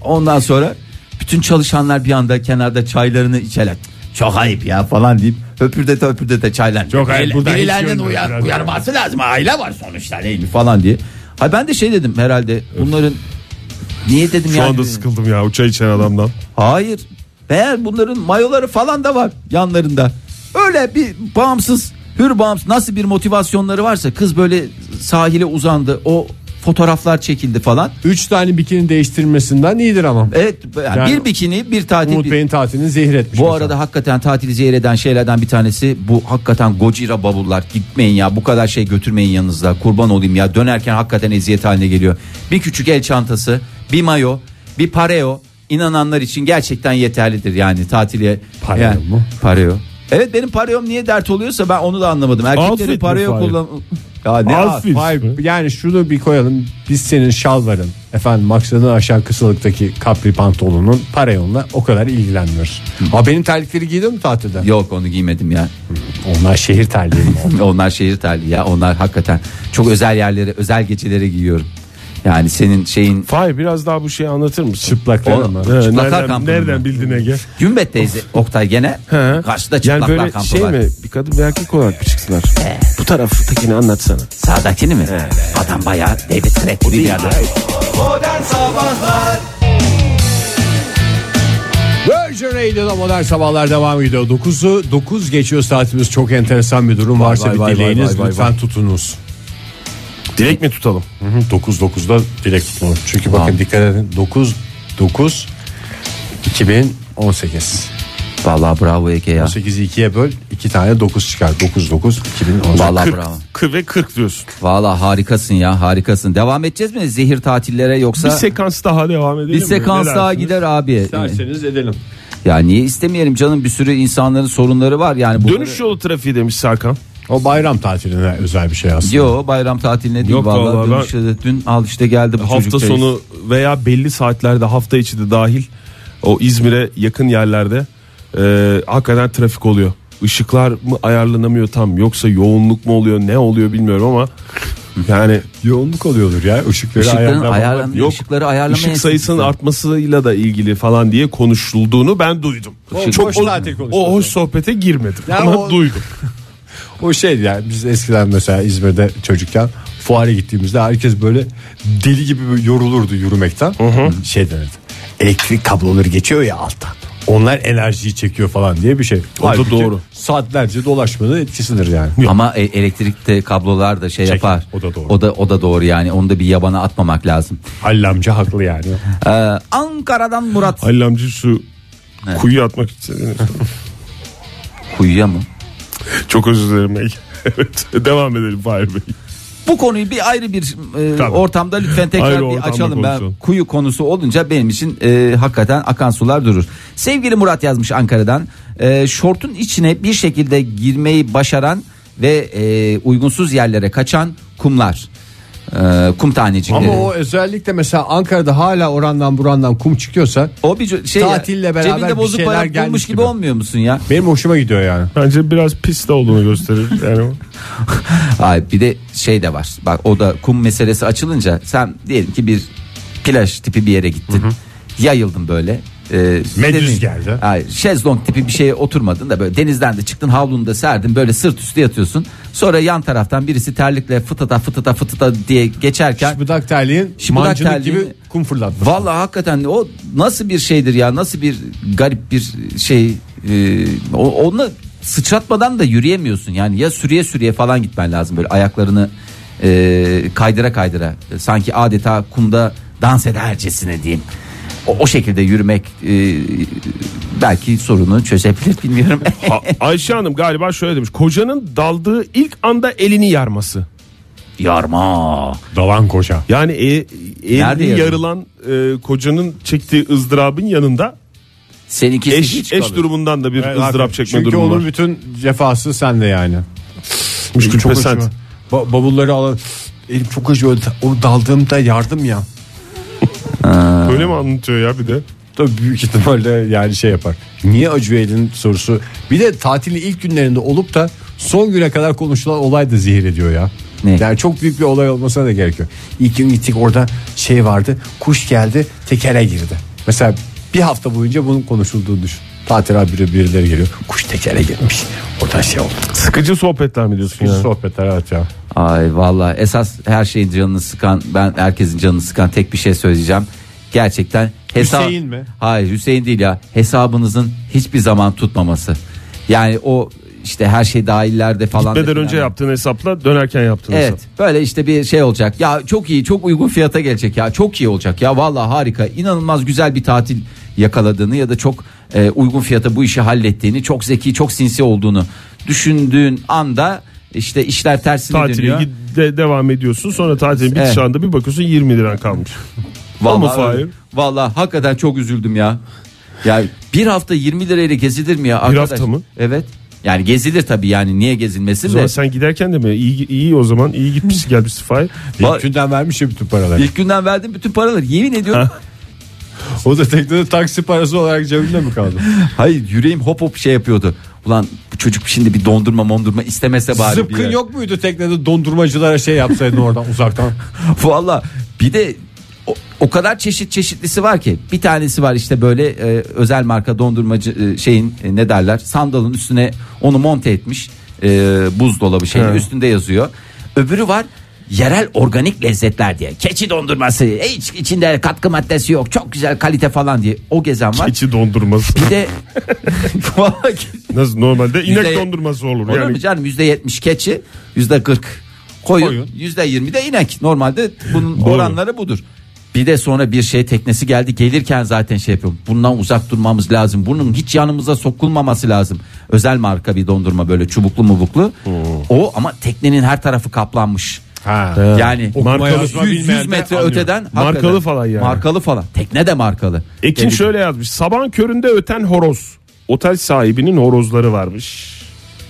Speaker 2: Ondan sonra bütün çalışanlar bir anda kenarda çaylarını içerler. Çok ayıp ya falan deyip höpürdete höpürdete çaylar.
Speaker 3: Çok ayıp,
Speaker 2: Biri-
Speaker 3: buradan
Speaker 2: Birilerinin
Speaker 3: içiyorum
Speaker 2: uyar,
Speaker 3: biraz
Speaker 2: uyarması lazım. Aile var sonuçta değil mi falan diye. Ha ben de şey dedim herhalde bunların niye dedim
Speaker 4: Şu
Speaker 2: yani.
Speaker 4: anda sıkıldım ya o çay içen adamdan.
Speaker 2: Hayır. Meğer bunların mayoları falan da var yanlarında. Öyle bir bağımsız, hür bağımsız nasıl bir motivasyonları varsa kız böyle sahile uzandı. O fotoğraflar çekildi falan.
Speaker 3: Üç tane bikini değiştirmesinden iyidir ama.
Speaker 2: Evet yani
Speaker 3: Yani
Speaker 2: bir bikini bir tatil.
Speaker 3: Umut
Speaker 2: bir-
Speaker 3: Bey'in tatilini zehir etmiş.
Speaker 2: Bu
Speaker 3: mesela.
Speaker 2: arada hakikaten tatili zehir eden şeylerden bir tanesi bu hakikaten Gojira bavullar. Gitmeyin ya bu kadar şey götürmeyin yanınızda. Kurban olayım ya dönerken hakikaten eziyet haline geliyor. Bir küçük el çantası, bir mayo, bir pareo inananlar için gerçekten yeterlidir yani tatile.
Speaker 3: Pareo
Speaker 2: yani,
Speaker 3: mu?
Speaker 2: Pareo. Evet benim pareom niye dert oluyorsa ben onu da anlamadım.
Speaker 4: Outfit
Speaker 2: Erkeklerin
Speaker 4: mi
Speaker 2: pareo
Speaker 4: Fahir?
Speaker 2: kullan... Ya ne
Speaker 4: Outfit.
Speaker 2: outfit?
Speaker 3: Hayır, yani şunu bir koyalım. Biz senin şalvarın, efendim maksadın aşağı kısalıktaki kapri pantolonun parayonla o kadar ilgilenmiyoruz. Ha benim terlikleri giydin mi tatilde?
Speaker 2: Yok onu giymedim ya.
Speaker 3: Onlar şehir terliği mi?
Speaker 2: Onlar şehir terliği ya. Onlar hakikaten çok özel yerlere, özel gecelere giyiyorum. Yani senin şeyin
Speaker 4: Fahir biraz daha bu şeyi anlatır mısın?
Speaker 3: Çıplaklar
Speaker 2: Oğlum,
Speaker 3: ama.
Speaker 4: He,
Speaker 2: Çıplaklar
Speaker 4: nereden,
Speaker 2: kampı mı?
Speaker 4: nereden bildin Ege?
Speaker 2: Gümbet teyze Oktay gene
Speaker 4: He.
Speaker 2: karşıda çıplaklar
Speaker 4: yani böyle
Speaker 2: kampı
Speaker 4: şey
Speaker 2: var.
Speaker 4: mi bir kadın bir erkek olarak mı çıktılar? Bu taraftakini anlatsana.
Speaker 2: Sağdakini mi? Adam bayağı David Threat gibi bir adam.
Speaker 3: Virgin Radio'da modern sabahlar devam ediyor. 9'u 9 geçiyor saatimiz. Çok enteresan bir durum varsa
Speaker 2: vay,
Speaker 3: bir
Speaker 2: vay,
Speaker 3: dileğiniz
Speaker 2: vay, vay,
Speaker 3: lütfen tutunuz.
Speaker 4: Dilek mi tutalım?
Speaker 3: 9 9'da dilek tutulur. Çünkü bakın dikkat edin 9 9 2018.
Speaker 2: Vallahi bravo Ege ya.
Speaker 3: 8'i 2'ye böl 2 tane 9 çıkar. 9 9 2018.
Speaker 2: Vallahi bravo.
Speaker 4: 40 ve 40 diyorsun.
Speaker 2: Vallahi harikasın ya harikasın. Devam edeceğiz mi zehir tatillere
Speaker 4: Bir
Speaker 2: yoksa
Speaker 4: sekans daha devam edelim
Speaker 2: bir sekans
Speaker 4: Ne
Speaker 2: daha
Speaker 4: dersiniz?
Speaker 2: gider abi.
Speaker 3: İsterseniz edelim.
Speaker 2: Ya niye istemeyelim canım bir sürü insanların sorunları var yani. bunları-
Speaker 4: Dönüş yolu trafiği demiş Serkan.
Speaker 3: O bayram tatiline özel bir şey aslında.
Speaker 2: Yo bayram tatiline değil
Speaker 4: Yok
Speaker 2: vallahi,
Speaker 4: vallahi ben-
Speaker 2: dönüşte de- dün al işte geldi bu
Speaker 4: Hafta
Speaker 2: çocuk şey.
Speaker 4: sonu veya belli saatlerde hafta içi de dahil o İzmir'e yakın yerlerde e, hakikaten trafik oluyor. Işıklar mı ayarlanamıyor tam yoksa yoğunluk mu oluyor ne oluyor bilmiyorum ama yani
Speaker 3: Yoğunluk oluyordur ya ışıkları
Speaker 2: Işıkların
Speaker 3: ayarlama-
Speaker 2: ayarlan-
Speaker 4: Yok,
Speaker 2: ışıkları ayarlama
Speaker 4: ışık
Speaker 2: enstitüsü.
Speaker 4: sayısının artmasıyla da ilgili falan diye konuşulduğunu ben duydum.
Speaker 2: Işık-
Speaker 4: Çok
Speaker 3: boş
Speaker 4: o,
Speaker 3: tatil konuşuyorsun.
Speaker 4: o hoş sohbete girmedim
Speaker 3: Ya
Speaker 4: ama
Speaker 3: o-
Speaker 4: duydum.
Speaker 3: O şey yani biz eskiden mesela İzmir'de çocukken fuara gittiğimizde herkes böyle deli gibi böyle yorulurdu yürümekten. Şey denirdi. Elektrik kabloları geçiyor ya alttan. Onlar enerjiyi çekiyor falan diye bir şey.
Speaker 4: O da doğru.
Speaker 3: Saatlerce dolaşmanın etkisidir yani.
Speaker 2: Ama e, elektrikte kablolar da şey
Speaker 3: Çekin,
Speaker 2: yapar.
Speaker 3: o da doğru.
Speaker 2: O da o da doğru yani. Onu da bir yabana atmamak lazım.
Speaker 3: Halil amca haklı yani.
Speaker 2: Ee, Ankara'dan Murat
Speaker 4: Halil amca şu kuyu atmak için.
Speaker 2: kuyuya mı?
Speaker 4: Çok özür dilerim Ege. evet devam edelim Fahir Bey.
Speaker 2: Bu konuyu bir ayrı bir e,
Speaker 4: Tabii.
Speaker 2: ortamda lütfen tekrar
Speaker 4: Ayrı
Speaker 2: bir
Speaker 4: ortamda
Speaker 2: açalım. Ben
Speaker 4: konuşalım.
Speaker 2: kuyu konusu olunca benim için e, hakikaten akan sular durur. Sevgili Murat yazmış Ankara'dan. E, şortun içine bir şekilde girmeyi başaran ve e, uygunsuz yerlere kaçan kumlar. E, kum tanecikleri.
Speaker 3: Ama o özellikle mesela Ankara'da hala orandan burandan kum çıkıyorsa
Speaker 2: O bir co- şey ya,
Speaker 3: Tatille beraber
Speaker 2: cebinde
Speaker 3: bir
Speaker 2: bozuk
Speaker 3: şeyler
Speaker 2: para
Speaker 3: gelmiş
Speaker 2: bulmuş gibi
Speaker 3: gibi.
Speaker 2: olmuyor musun ya?
Speaker 3: benim hoşuma gidiyor yani.
Speaker 4: Bence biraz pis de olduğunu gösterir. Yani o.
Speaker 2: Ay bir de şey de var. Bak o da kum meselesi açılınca sen diyelim ki bir plaj tipi bir yere gittin. Yayıldım böyle. Ee,
Speaker 3: Medüz
Speaker 2: dedin-
Speaker 3: geldi.
Speaker 2: Hayır, şezlong tipi bir şeye oturmadın da böyle denizden de çıktın havlunu da serdin böyle sırt üstü yatıyorsun. Sonra yan taraftan birisi terlikle fıtata fıtata fıtata diye geçerken
Speaker 3: Şıbıdak terliğin
Speaker 2: Şıbıdak
Speaker 3: mancınık
Speaker 2: terliğini-
Speaker 3: gibi kum fırlatma.
Speaker 2: Vallahi hakikaten o nasıl bir şeydir ya nasıl bir garip bir şey e, o- onunla sıçratmadan da yürüyemiyorsun yani ya sürüye sürüye falan gitmen lazım böyle ayaklarını e, kaydıra kaydıra E, sanki adeta kumda dans edercesine diyeyim o, o şekilde yürümek e, belki sorunu çözebilir bilmiyorum
Speaker 4: A- Ayşe Hanım galiba şöyle demiş. Kocanın daldığı ilk anda elini yarması.
Speaker 2: yarma
Speaker 3: Dalan koca.
Speaker 4: Yani e,
Speaker 2: Nerede
Speaker 4: eli
Speaker 2: yarıyor?
Speaker 4: yarılan e, kocanın çektiği ızdırabın yanında
Speaker 2: seninkisi
Speaker 4: eş,
Speaker 2: hiç
Speaker 4: eş
Speaker 2: kalır.
Speaker 4: durumundan da bir ızdırap çekme
Speaker 3: Ee, Çünkü
Speaker 4: durumu
Speaker 3: onun
Speaker 4: var.
Speaker 3: bütün cefası sende yani.
Speaker 4: Müşkül
Speaker 3: Çok
Speaker 4: pesent.
Speaker 3: hoşuma. Ba- bavulları alan elim çok acıyor. O daldığımda yardım ya.
Speaker 4: Böyle mi anlatıyor ya bir de?
Speaker 3: Tabii büyük ihtimalle yani şey yapar. Niye acıyor elin sorusu. Bir de tatili ilk günlerinde olup da son güne kadar konuşulan olay da zehir ediyor ya.
Speaker 2: Ne?
Speaker 3: Yani çok büyük bir olay olmasına da gerek yok. İlk gün gittik orada şey vardı. Kuş geldi tekere girdi. Mesela bir hafta boyunca bunun konuşulduğunu düşün. Tatil haberi birileri geliyor. Kuş tekere girmiş. Oradan şey oldu.
Speaker 4: Sıkıcı sohbetler mi diyorsun
Speaker 3: Bir
Speaker 4: yani?
Speaker 3: sohbetler evet ya.
Speaker 2: Ay vallahi esas her şeyin canını sıkan ben herkesin canını sıkan tek bir şey söyleyeceğim. Gerçekten hesap
Speaker 3: Hüseyin mi?
Speaker 2: Hayır Hüseyin değil ya. Hesabınızın hiçbir zaman tutmaması. Yani o işte her şey dahillerde falan.
Speaker 4: Gitmeden
Speaker 2: da
Speaker 4: önce
Speaker 2: filan.
Speaker 4: yaptığın hesapla dönerken yaptığın hesap.
Speaker 2: Evet böyle işte bir şey olacak ya çok iyi çok uygun fiyata gelecek ya çok iyi olacak ya vallahi harika inanılmaz güzel bir tatil yakaladığını ya da çok e, uygun fiyata bu işi hallettiğini çok zeki çok sinsi olduğunu düşündüğün anda işte işler tersine
Speaker 4: Tatile
Speaker 2: dönüyor.
Speaker 4: gid- de- devam ediyorsun sonra tatilin bitiş
Speaker 2: Evet.
Speaker 4: anda bir bakıyorsun 20 liran kalmış. Ama
Speaker 2: Vallahi,
Speaker 4: Fahir?
Speaker 2: öyle. Vallahi hakikaten çok üzüldüm ya. Ya bir hafta 20 lirayla gezilir mi ya arkadaş?
Speaker 4: hafta mı?
Speaker 2: Evet. Yani gezilir tabii yani niye gezilmesin
Speaker 4: O zaman
Speaker 2: de.
Speaker 4: sen giderken de mi? İyi, iyi o zaman iyi gitmişsin gelmişsin Fahir.
Speaker 2: Ba-
Speaker 3: İlk günden vermiş ya bütün paraları.
Speaker 2: İlk günden verdim bütün paraları yemin ediyorum.
Speaker 3: O da teknede taksi parası olarak cebinde mi kaldı?
Speaker 2: Hayır yüreğim hop hop şey yapıyordu. Ulan bu çocuk şimdi bir dondurma mondurma istemese bari bir
Speaker 3: Zıpkın
Speaker 2: yer.
Speaker 3: yok muydu teknede dondurmacılara şey yapsaydın oradan uzaktan?
Speaker 2: Valla bir de o, o kadar çeşit çeşitlisi var ki. Bir tanesi var işte böyle e, özel marka dondurmacı e, şeyin e, ne derler sandalın üstüne onu monte etmiş e, buzdolabı şeyin
Speaker 4: He.
Speaker 2: üstünde yazıyor. Öbürü var yerel organik lezzetler diye. Keçi dondurması hiç içinde katkı maddesi yok çok güzel kalite falan diye o gezen var.
Speaker 4: İçi dondurması.
Speaker 2: Bir de Vallahi
Speaker 4: Nasıl normalde inek
Speaker 2: Yüzde-
Speaker 4: dondurması olur.
Speaker 2: Olur
Speaker 4: yani
Speaker 2: mu canım yüzde yetmiş keçi yüzde kırk koyun
Speaker 3: Koyun.
Speaker 2: yüzde yirmi de inek normalde bunun oranları budur. Bir de sonra bir şey teknesi geldi gelirken zaten şey yapıyorum bundan uzak durmamız lazım bunun hiç yanımıza sokulmaması lazım. Özel marka bir dondurma böyle çubuklu mubuklu o ama teknenin her tarafı kaplanmış.
Speaker 3: Ha.
Speaker 2: Yani
Speaker 3: Okuma
Speaker 4: Markalı-
Speaker 3: yazma
Speaker 2: 100,
Speaker 3: bilmeyen de
Speaker 2: metre
Speaker 3: anlıyor.
Speaker 2: öteden
Speaker 4: Markalı
Speaker 2: hakikaten-
Speaker 4: falan yani. E
Speaker 2: Markalı falan. Tekne de markalı.
Speaker 4: Ekin
Speaker 2: Yani-
Speaker 4: şöyle yazmış. Sabahın köründe öten horoz. Otel sahibinin horozları varmış.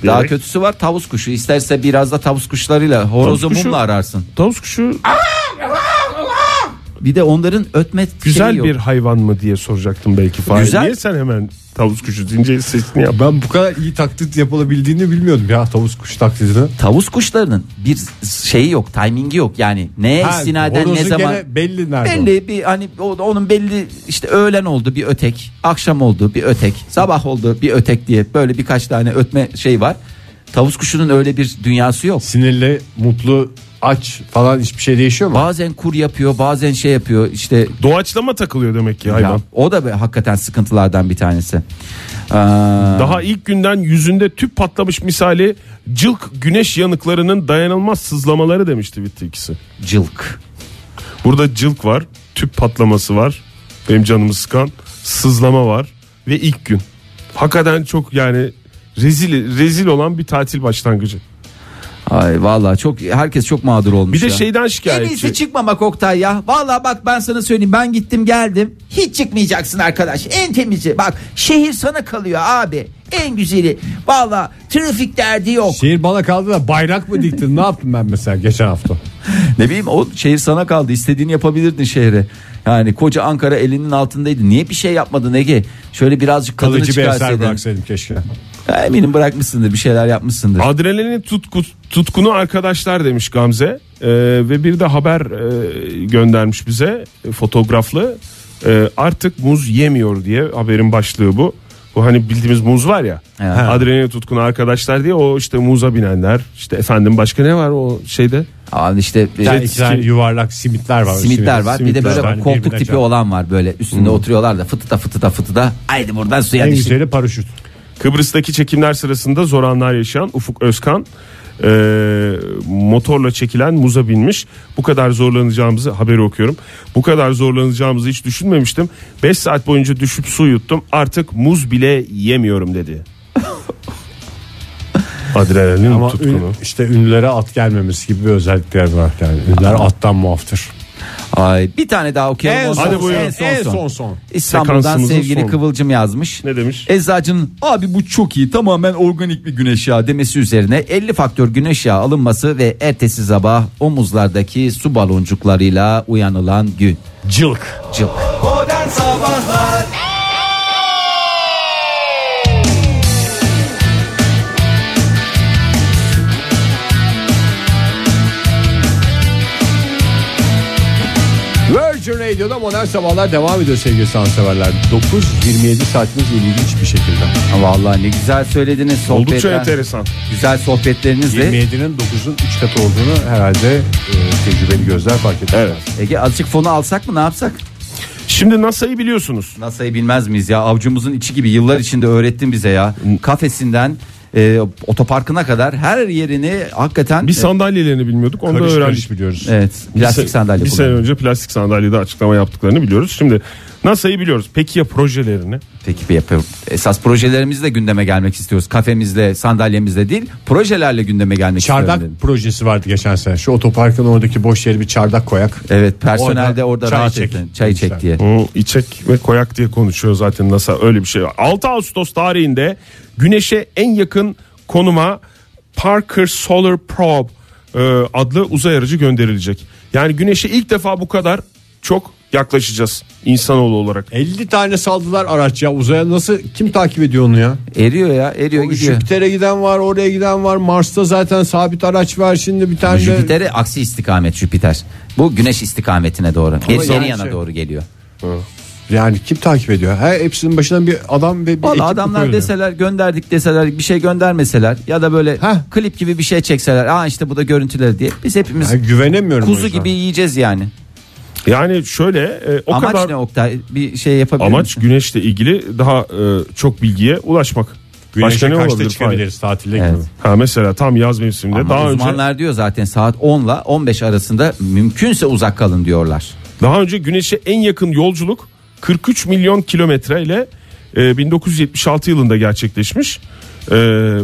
Speaker 2: daha
Speaker 4: Diyerek.
Speaker 2: kötüsü var tavus kuşu. İsterse biraz da tavus kuşlarıyla horozu
Speaker 4: Tavus kuşu-
Speaker 2: mumla ararsın.
Speaker 4: Tavus kuşu
Speaker 2: Ah, Bir de onların ötme
Speaker 4: güzel
Speaker 2: şeyi şey yok.
Speaker 4: bir hayvan mı diye soracaktım belki. Fahir.
Speaker 2: Güzel.
Speaker 4: Niye sen hemen tavus kuşu deyince sesini yap.
Speaker 3: Ben bu kadar iyi taklit yapılabildiğini bilmiyordum ya tavus kuş taklidini.
Speaker 2: tavus kuşlarının bir şeyi yok, timingi yok. Yani neye
Speaker 3: Ha,
Speaker 2: istinaden E, ne
Speaker 3: horozu
Speaker 2: zaman
Speaker 3: gene belli nerede. o.
Speaker 2: belli bir hani o- onun belli işte öğlen oldu bir ötek, akşam oldu bir ötek, sabah oldu bir ötek diye böyle birkaç tane ötme şey var. Tavus kuşunun öyle bir dünyası yok.
Speaker 3: Sinirli, mutlu, aç falan hiçbir şey değişiyor mu?
Speaker 2: Bazen kur yapıyor, bazen şey yapıyor. işte
Speaker 4: Doğaçlama takılıyor demek ki hayvan.
Speaker 2: Ya, o da be- hakikaten sıkıntılardan bir tanesi. Ee,
Speaker 4: Daha ilk günden yüzünde tüp patlamış misali cılk güneş yanıklarının dayanılmaz sızlamaları demişti bitti ikisi.
Speaker 2: cılk.
Speaker 4: Burada cılk var, tüp patlaması var. Benim canımı sıkan sızlama var ve ilk gün. Hakikaten çok yani rezil rezil olan bir tatil başlangıcı.
Speaker 2: Ay vallahi çok herkes çok mağdur olmuş.
Speaker 4: Bir de şey
Speaker 2: ya.
Speaker 4: şeyden
Speaker 2: En
Speaker 4: şikayetçi.
Speaker 2: iyisi çıkmamak Oktay ya. Vallahi bak ben sana söyleyeyim ben gittim geldim. Hiç çıkmayacaksın arkadaş. En temizi bak şehir sana kalıyor abi. En güzeli. Vallahi trafik derdi yok.
Speaker 3: Şehir bana kaldı da bayrak mı diktin ne yaptım ben mesela geçen hafta?
Speaker 2: Ne bileyim o şehir sana kaldı. İstediğini yapabilirdin şehre. Yani koca Ankara elinin altındaydı. Niye bir şey yapmadın Ege? Şöyle birazcık tadını
Speaker 3: Kalıcı bir eser
Speaker 2: çıkarsaydın.
Speaker 3: bıraksaydım keşke.
Speaker 2: Ya Eminim bırakmışsındır bir şeyler yapmışsındır.
Speaker 4: Adrenalin tutku, tutkunu arkadaşlar demiş Gamze. Ee, Ee, ve bir de haber e, göndermiş bize e, fotoğraflı. Ee, artık muz yemiyor diye haberin başlığı bu. Bu hani bildiğimiz muz var ya.
Speaker 2: Evet.
Speaker 4: Adrenalin tutkunu arkadaşlar diye o işte muza binenler. işte efendim başka ne var o şeyde?
Speaker 2: Abi işte e,
Speaker 3: Yani iki tane yuvarlak simitler var.
Speaker 2: simitler var. Bir de böyle
Speaker 3: Simitler. Yani
Speaker 2: koltuk
Speaker 3: birbirine
Speaker 2: tipi
Speaker 3: çarp-
Speaker 2: olan var böyle. Üstünde oturuyorlar da fıtıda fıtıda fıtıda. Haydi buradan suya
Speaker 3: En
Speaker 2: düştük.
Speaker 3: güzeli paraşüt.
Speaker 4: Kıbrıs'taki çekimler sırasında zor anlar yaşayan Ufuk Özkan e, motorla çekilen muza binmiş. Bu kadar zorlanacağımızı haberi okuyorum. Bu kadar zorlanacağımızı hiç düşünmemiştim. 5 saat boyunca düşüp su yuttum. Artık muz bile yemiyorum dedi. Adrenalin
Speaker 3: Ama
Speaker 4: tutkunu.
Speaker 3: ün- işte ünlülere at gelmemesi gibi bir özellikler var. Yani ünlüler attan muaftır.
Speaker 2: Ay, bir tane daha okuyalım. ondan
Speaker 4: son
Speaker 2: sonra
Speaker 4: buyurun.
Speaker 2: en son. son.
Speaker 3: son.
Speaker 2: İstanbul'dan
Speaker 4: Sekansımızın
Speaker 2: sevgili
Speaker 4: sonu.
Speaker 2: Kıvılcım yazmış.
Speaker 4: Ne demiş?
Speaker 2: Eczacının abi bu çok iyi tamamen organik bir güneş yağı demesi üzerine 50 faktör güneş yağı alınması ve ertesi sabah omuzlardaki su baloncuklarıyla uyanılan gün.
Speaker 3: Cılk.
Speaker 2: Cılk.
Speaker 3: Virgin Radio'da modern sabahlar devam ediyor sevgili sanatseverler. 9.27 saatimiz ilginç bir şekilde.
Speaker 2: Vallahi ne güzel söylediniz
Speaker 4: Oldukça
Speaker 2: sohbetler.
Speaker 4: enteresan.
Speaker 2: Güzel sohbetlerinizle
Speaker 3: 27'nin 9'un 3 katı olduğunu herhalde e, tecrübeli gözler fark etti.
Speaker 4: Evet.
Speaker 2: Ege azıcık fonu alsak mı ne yapsak?
Speaker 4: Şimdi NASA'yı biliyorsunuz.
Speaker 2: NASA'yı bilmez miyiz ya? Avcumuzun içi gibi yıllar içinde öğrettin bize ya.
Speaker 3: Hmm.
Speaker 2: Kafesinden e, otoparkına kadar her yerini hakikaten e,
Speaker 4: Bir sandalyelerini bilmiyorduk. Onu da
Speaker 3: Karış
Speaker 4: öğrendik.
Speaker 3: karış biliyoruz.
Speaker 2: Evet,
Speaker 4: Bir
Speaker 2: plastik
Speaker 4: se-
Speaker 2: sandalye
Speaker 4: Bir sene
Speaker 2: kullanıyor.
Speaker 4: önce plastik sandalyede açıklama yaptıklarını biliyoruz. Şimdi NASA'yı biliyoruz. Peki ya projelerini?
Speaker 2: Peki bir yapıyorum. Esas projelerimizi de gündeme gelmek istiyoruz. Kafemizle, sandalyemizle değil, projelerle gündeme gelmek
Speaker 3: Çardak
Speaker 2: istiyorum. dedim.
Speaker 3: projesi vardı geçen sene. Şu otoparkın oradaki boş yeri bir çardak koyak.
Speaker 2: Evet, personel
Speaker 3: Orada
Speaker 2: de orada
Speaker 3: çay
Speaker 2: rahat
Speaker 3: çek.
Speaker 2: etsin. Çay çek
Speaker 3: Lütfen.
Speaker 2: diye.
Speaker 4: O içek ve koyak diye konuşuyor zaten NASA öyle bir şey var. 6 Ağustos tarihinde güneşe en yakın konuma Parker Solar Probe e, adlı uzay aracı gönderilecek. Yani güneşe ilk defa bu kadar çok yaklaşacağız insanoğlu olarak.
Speaker 3: 50 tane saldılar araç ya uzaya nasıl kim takip ediyor onu ya?
Speaker 2: Eriyor ya, eriyor gidiyor.
Speaker 3: Jüpiter'e giden var oraya giden var Mars'ta zaten sabit araç var şimdi bir tane de
Speaker 2: Jüpiter'e aksi istikamet Jüpiter. Bu güneş istikametine doğru. Geri,
Speaker 3: yani
Speaker 2: geri yana
Speaker 3: şey-
Speaker 2: doğru geliyor.
Speaker 3: yani kim takip ediyor? Her hepsinin başına bir adam ve bir ekip
Speaker 2: Valla
Speaker 3: mi
Speaker 2: adamlar
Speaker 3: koyuluyor?
Speaker 2: deseler gönderdik deseler bir şey göndermeseler ya da böyle
Speaker 3: Heh.
Speaker 2: klip gibi bir şey çekseler. Aa işte bu da görüntüleri diye biz hepimiz
Speaker 3: Ya güvenemiyorum. o
Speaker 2: kuzu
Speaker 3: yüzden.
Speaker 2: gibi yiyeceğiz yani.
Speaker 4: Yani şöyle e, o
Speaker 2: Amaç
Speaker 4: kadar
Speaker 2: ne Oktay? Bir şey yapabilir
Speaker 4: amaç
Speaker 2: misin?
Speaker 4: güneşle ilgili daha e, çok bilgiye ulaşmak.
Speaker 3: Güneşe
Speaker 4: Başka ne
Speaker 3: kaçta
Speaker 4: olabilir? Fahir?
Speaker 3: çıkabiliriz tatilde
Speaker 2: Evet.
Speaker 3: gibi.
Speaker 4: Ha mesela tam yaz mevsiminde
Speaker 2: Ama
Speaker 4: daha önce
Speaker 2: uzmanlar diyor zaten saat 10 ile 15 arasında mümkünse uzak kalın diyorlar.
Speaker 4: Daha önce güneşe en yakın yolculuk 43 milyon kilometre ile e, 1976 yılında gerçekleşmiş. E,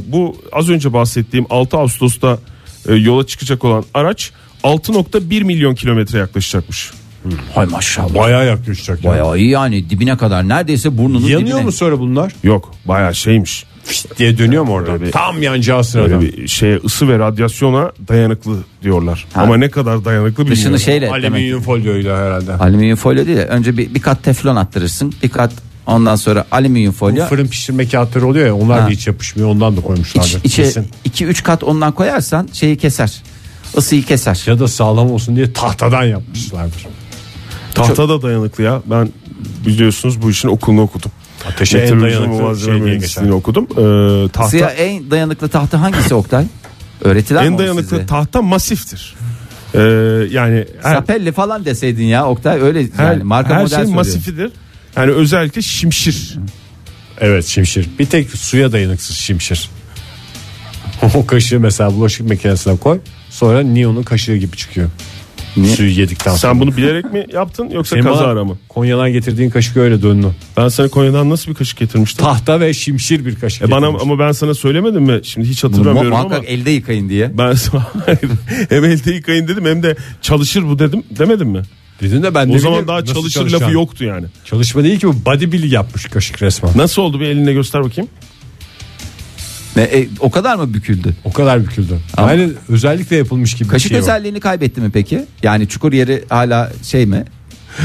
Speaker 4: bu az önce bahsettiğim 6 Ağustos'ta e, yola çıkacak olan araç 6.1 milyon kilometre yaklaşacakmış.
Speaker 2: Hay maşallah.
Speaker 3: Bayağı yaklaşacak. yani.
Speaker 2: Bayağı iyi yani dibine kadar neredeyse burnunun dibine.
Speaker 3: Yanıyor mu sonra bunlar?
Speaker 4: Yok bayağı şeymiş.
Speaker 3: Fişt diye dönüyor mu orada?
Speaker 4: Öyle bir-
Speaker 3: Tam yanacağı sırada.
Speaker 4: Böyle bir şeye ısı ve radyasyona dayanıklı diyorlar.
Speaker 2: Ha.
Speaker 4: Ama ne kadar dayanıklı bilmiyorum.
Speaker 2: Dışını şeyle demek.
Speaker 3: Alüminyum folyoyla herhalde.
Speaker 2: Alüminyum folyo değil de önce bir, bir kat teflon attırırsın. Bir kat ondan sonra alüminyum folyo.
Speaker 3: Fırın pişirme kağıtları oluyor ya onlar
Speaker 2: Ha.
Speaker 3: da hiç yapışmıyor ondan da koymuşlardır.
Speaker 2: İç, içe
Speaker 3: Kesin.
Speaker 2: 2-3 kat ondan koyarsan şeyi keser. Isıyı keser.
Speaker 3: Ya da sağlam olsun diye tahtadan yapmışlardır.
Speaker 4: Tahta da dayanıklı ya. Ben biliyorsunuz bu işin okulunu okudum.
Speaker 3: Ateşe en
Speaker 4: Meteoroloji
Speaker 3: dayanıklı şey
Speaker 4: malzeme
Speaker 3: diye
Speaker 4: mühendisliğini
Speaker 3: geçer.
Speaker 4: okudum. Ee, tahta
Speaker 2: Isıya en dayanıklı tahta hangisi Oktay? Öğretilen mi
Speaker 4: en
Speaker 2: onu
Speaker 4: dayanıklı
Speaker 2: size?
Speaker 4: tahta masiftir. Ee, yani her,
Speaker 2: Sapelli falan deseydin ya Oktay öyle
Speaker 4: her,
Speaker 2: yani marka
Speaker 4: her
Speaker 2: model
Speaker 4: şey
Speaker 2: söylüyor.
Speaker 4: masifidir. Yani özellikle şimşir.
Speaker 3: Evet şimşir. Bir tek suya dayanıksız şimşir. o kaşığı mesela bulaşık makinesine koy. Sonra Neon'un kaşığı gibi çıkıyor. Suyu yedikten sonra.
Speaker 4: Sen bunu bilerek mi yaptın yoksa
Speaker 3: Sema,
Speaker 4: kaza ara mı?
Speaker 3: Konya'dan getirdiğin kaşık öyle döndü.
Speaker 4: Ben sana Konya'dan nasıl bir kaşık getirmiştim?
Speaker 3: Tahta ve şimşir bir kaşık.
Speaker 4: E bana
Speaker 3: getirmiş.
Speaker 4: ama ben sana söylemedim mi? Şimdi hiç
Speaker 2: Mu-
Speaker 4: hatırlamıyorum ama.
Speaker 2: Muhakkak elde yıkayın diye.
Speaker 4: Ben sana Hayır. hem elde yıkayın dedim hem de çalışır bu dedim demedim mi?
Speaker 3: Dedin de ben
Speaker 4: o
Speaker 3: ne
Speaker 4: zaman
Speaker 3: bileyim
Speaker 4: daha
Speaker 3: nasıl
Speaker 4: çalışır lafı
Speaker 3: çalışacağını.
Speaker 4: yoktu yani.
Speaker 3: Çalışma değil ki bu bodybuilding yapmış kaşık resmen.
Speaker 4: Nasıl oldu bir eline göster bakayım.
Speaker 2: Ne, e, o kadar mı büküldü?
Speaker 3: O kadar büküldü.
Speaker 2: Ama-
Speaker 3: Yani özellikle yapılmış gibi
Speaker 2: Kaşık
Speaker 3: bir şey var.
Speaker 2: özelliğini kaybetti mi peki? Yani çukur yeri hala şey mi?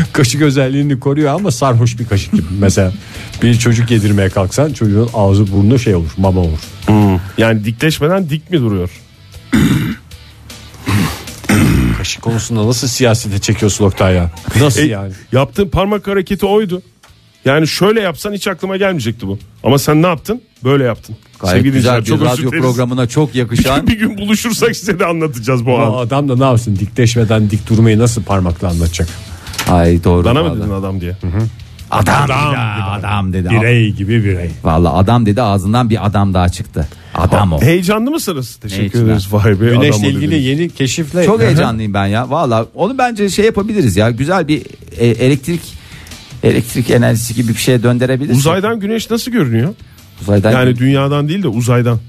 Speaker 3: Kaşık özelliğini koruyor ama sarhoş bir kaşık gibi. Mesela bir çocuk yedirmeye kalksan çocuğun ağzı burnu şey olur mama olur.
Speaker 4: Yani dikleşmeden dik mi duruyor?
Speaker 3: iş konusunda nasıl siyasete çekiyorsun Oktay ya? Nasıl
Speaker 4: E,
Speaker 3: yani?
Speaker 4: Yaptığın parmak hareketi oydu. Yani şöyle yapsan hiç aklıma gelmeyecekti bu. Ama sen ne yaptın? Böyle yaptın.
Speaker 2: Gayet
Speaker 4: Sevgili
Speaker 2: güzel
Speaker 4: dinleyiciler,
Speaker 2: bir
Speaker 4: çok özür
Speaker 2: radyo
Speaker 4: dileriz.
Speaker 2: programına çok yakışan.
Speaker 4: bir gün buluşursak size de anlatacağız bu
Speaker 3: Ama
Speaker 4: anı.
Speaker 3: adam da ne yapsın dikleşmeden dik durmayı nasıl parmakla anlatacak?
Speaker 2: Ay doğru.
Speaker 4: Bana mı
Speaker 2: vallahi.
Speaker 4: dedin adam diye?
Speaker 2: Adam, dedi, adam dedi.
Speaker 3: Birey gibi birey.
Speaker 2: Vallahi adam dedi ağzından bir adam daha çıktı. Adam o.
Speaker 4: Heyecanlı mısınız? Teşekkür
Speaker 2: Heyecan.
Speaker 4: ederiz. Vay be. adam
Speaker 3: Güneşle
Speaker 4: o
Speaker 3: ilgili
Speaker 4: dediniz.
Speaker 3: yeni keşifle
Speaker 2: Çok heyecanlıyım ben ya. Vallahi onu bence şey yapabiliriz ya. Güzel bir e, elektrik elektrik enerjisi gibi bir şeye
Speaker 3: şey.
Speaker 2: döndürebiliriz.
Speaker 4: Uzaydan güneş nasıl görünüyor?
Speaker 2: Uzaydan.
Speaker 4: Yani dünyadan değil de uzaydan.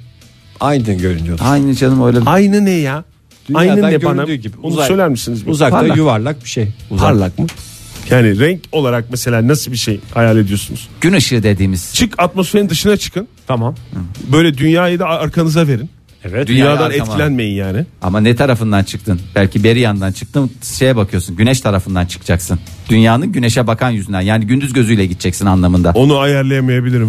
Speaker 3: aynı görünüyor.
Speaker 2: Aynı canım öyle. bir-
Speaker 4: Aynı ne ya?
Speaker 3: Dünyadan
Speaker 4: Aynı ne bana?
Speaker 3: göründüğü gibi.
Speaker 4: Onu
Speaker 3: Uzay-
Speaker 4: söyler misiniz? bir?
Speaker 3: Uzakta
Speaker 2: Parlak.
Speaker 3: yuvarlak bir şey. Uzak.
Speaker 2: Parlak mı?
Speaker 4: Yani renk olarak mesela nasıl bir şey hayal ediyorsunuz?
Speaker 2: Gün ışığı dediğimiz.
Speaker 4: Çık atmosferin dışına çıkın.
Speaker 3: Tamam.
Speaker 4: Böyle dünyayı da arkanıza verin.
Speaker 3: Evet.
Speaker 2: Dünya-
Speaker 4: Dünyadan
Speaker 2: arkama.
Speaker 4: etkilenmeyin yani.
Speaker 2: Ama ne tarafından çıktın? Belki beri yandan çıktın. Şeye bakıyorsun. Güneş tarafından çıkacaksın. Dünyanın güneşe bakan yüzünden. Yani gündüz gözüyle gideceksin anlamında.
Speaker 4: Onu ayarlayamayabilirim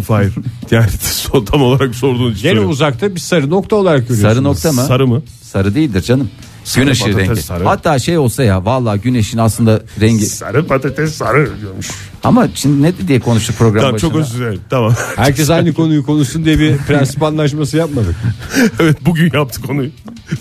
Speaker 4: Fahir. yani so- tam olarak sorduğun için.
Speaker 3: Gene
Speaker 4: soruyorum.
Speaker 3: uzakta bir sarı nokta olarak görüyorsun.
Speaker 2: Sarı nokta mı?
Speaker 4: Sarı mı?
Speaker 2: Sarı değildir canım. gün ışığı
Speaker 4: patates
Speaker 2: rengi.
Speaker 4: sarı.
Speaker 2: Hatta şey olsa ya vallahi güneşin aslında rengi.
Speaker 4: Sarı patates sarı diyormuş.
Speaker 2: Ama şimdi ne diye konuştuk program
Speaker 4: Tamam
Speaker 2: başında.
Speaker 4: çok özür dilerim. Tamam.
Speaker 3: Herkes aynı konuyu konuşsun diye bir prensip anlaşması yapmadık.
Speaker 4: evet bugün yaptık konuyu.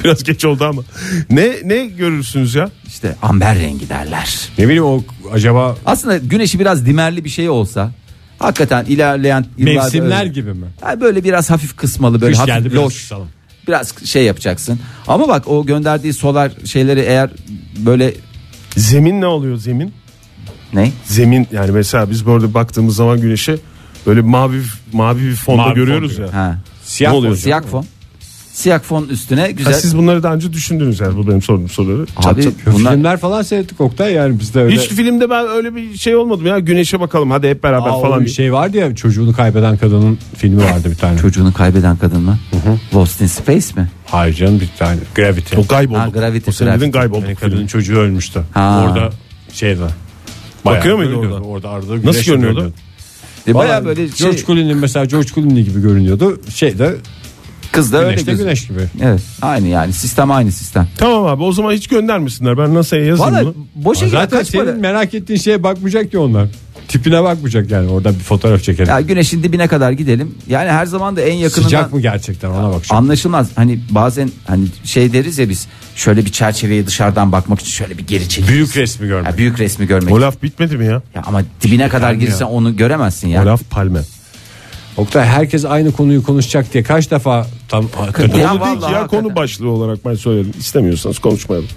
Speaker 4: Biraz geç oldu ama. Ne ne görürsünüz ya?
Speaker 2: İşte amber rengi derler.
Speaker 3: Ne bileyim o acaba
Speaker 2: Aslında güneşi biraz dimerli bir şey olsa hakikaten ilerleyen yıllarda
Speaker 3: mevsimler
Speaker 2: öyle-
Speaker 3: gibi mi?
Speaker 2: Yani böyle biraz hafif kısmalı böyle
Speaker 3: Kış
Speaker 2: hafif
Speaker 3: geldi, biraz
Speaker 2: loş.
Speaker 3: kısalım.
Speaker 2: Biraz şey yapacaksın. Ama bak o gönderdiği solar şeyleri eğer böyle
Speaker 4: Zemin ne oluyor zemin?
Speaker 2: ne?
Speaker 4: Zemin yani mesela biz böyle baktığımız zaman güneşe böyle mavi mavi bir fonda
Speaker 3: Mavi fon
Speaker 4: görüyoruz
Speaker 3: diyor.
Speaker 4: ya.
Speaker 2: Ha.
Speaker 3: Siyah
Speaker 4: Ne oluyor?
Speaker 3: olacak.
Speaker 2: Siyah fon. Siyah fon üstüne
Speaker 4: Ha,
Speaker 2: güzel.
Speaker 4: siz bunları daha önce düşündünüz yani bu benim sorduğum soruları.
Speaker 2: Abi bunlar
Speaker 3: Filmler falan seyrettik Oktay yani bizde öyle.
Speaker 4: Hiç filmde ben öyle bir şey olmadım ya güneşe bakalım hadi hep beraber
Speaker 3: Aa,
Speaker 4: falan.
Speaker 3: o bir şey vardı ya çocuğunu kaybeden kadının filmi vardı bir tane.
Speaker 2: çocuğunu kaybeden kadın mı? Lost in Space mi?
Speaker 3: Hayır canım bir tane. Gravity.
Speaker 4: O kayboldu.
Speaker 2: Ha, Gravity,
Speaker 4: o sen dedin
Speaker 2: Gravity.
Speaker 4: kayboldu.
Speaker 3: Yani kadının çocuğu ölmüştü.
Speaker 2: Ha.
Speaker 3: Orada şeyde. bayağı
Speaker 4: Bakıyor muydu
Speaker 3: görünüyordu.
Speaker 4: orada?
Speaker 3: Orada arada
Speaker 4: Nasıl
Speaker 3: güneş de
Speaker 4: görünüyordu?
Speaker 2: E,
Speaker 3: Vallahi
Speaker 2: Baya böyle şey,
Speaker 3: George Clooney mesela George Clooney gibi görünüyordu. Şeyde
Speaker 2: kız da öyle
Speaker 3: güneşte
Speaker 2: gözüküyor.
Speaker 3: güneş gibi.
Speaker 2: Evet aynı yani sistem aynı sistem.
Speaker 4: Tamam abi o zaman hiç göndermesinler ben nasıl yazayım
Speaker 2: Valla
Speaker 4: bunu.
Speaker 2: boşa giren
Speaker 3: Zaten
Speaker 2: kaç
Speaker 3: senin
Speaker 2: para?
Speaker 3: merak ettiğin şeye bakmayacak ki onlar. Tipine bakmayacak yani orada bir fotoğraf çekelim.
Speaker 2: Ya güneşin dibine kadar gidelim. Yani her zaman da en yakınından
Speaker 3: Sıcak mı gerçekten ona bak. şimdi.
Speaker 2: anlaşılmaz. Hani bazen hani şey deriz ya biz şöyle bir çerçeveye dışarıdan bakmak için şöyle bir geri çekil.
Speaker 3: Büyük resmi görmek.
Speaker 2: Ya büyük resmi görmek.
Speaker 4: O laf bitmedi mi ya?
Speaker 2: Ya ama dibine kadar girsen onu göremezsin ya.
Speaker 4: O laf palme.
Speaker 3: Oktay herkes aynı konuyu konuşacak diye kaç defa tam
Speaker 2: Ya
Speaker 4: Konu değil ki
Speaker 2: vallahi
Speaker 4: ya
Speaker 2: hakikaten.
Speaker 4: konu başlığı olarak ben söyledim. İstemiyorsanız konuşmayalım.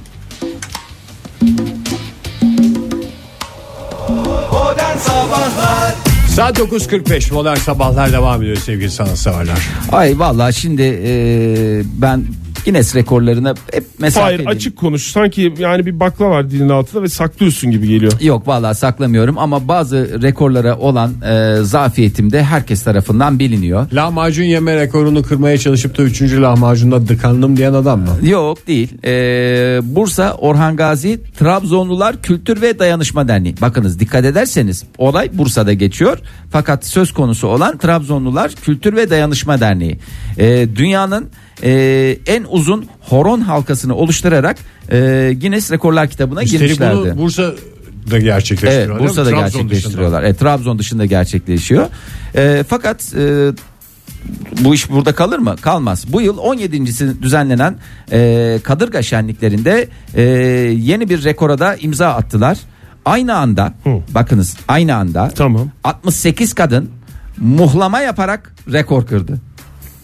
Speaker 3: Saat 9.45 modern sabahlar devam ediyor sevgili sanatseverler.
Speaker 2: Ay vallahi şimdi e, ben Guinness rekorlarına hep
Speaker 4: Hayır
Speaker 2: mesafeliyim.
Speaker 4: açık konuş. Sanki yani bir bakla var dilin altında ve saklıyorsun gibi geliyor.
Speaker 2: Yok vallahi saklamıyorum ama bazı rekorlara olan e, zafiyetim de herkes tarafından biliniyor.
Speaker 3: Lahmacun yeme rekorunu kırmaya çalışıp da 3. lahmacunda dıkandım diyen adam mı?
Speaker 2: Yok değil. Ee, Bursa Orhan Gazi Trabzonlular Kültür ve Dayanışma Derneği. Bakınız dikkat ederseniz olay Bursa'da geçiyor. Fakat söz konusu olan Trabzonlular Kültür ve Dayanışma Derneği. Ee, dünyanın e, en uzun horon halkasını oluşturarak e, Guinness Rekorlar kitabına
Speaker 3: Üstelik
Speaker 2: girmişlerdi.
Speaker 3: bunu Bursa'da gerçekleştiriyorlar.
Speaker 2: Evet
Speaker 3: değil mi?
Speaker 2: Bursa'da
Speaker 3: Trabzon
Speaker 2: gerçekleştiriyorlar. Evet, Trabzon dışında gerçekleşiyor. Ee, fakat e, bu iş burada kalır mı? Kalmaz. Bu yıl 17.si düzenlenen e, Kadırga şenliklerinde e, yeni bir rekora da imza attılar. Aynı anda bakınız aynı anda
Speaker 4: Tamam.
Speaker 2: 68 kadın muhlama yaparak rekor kırdı.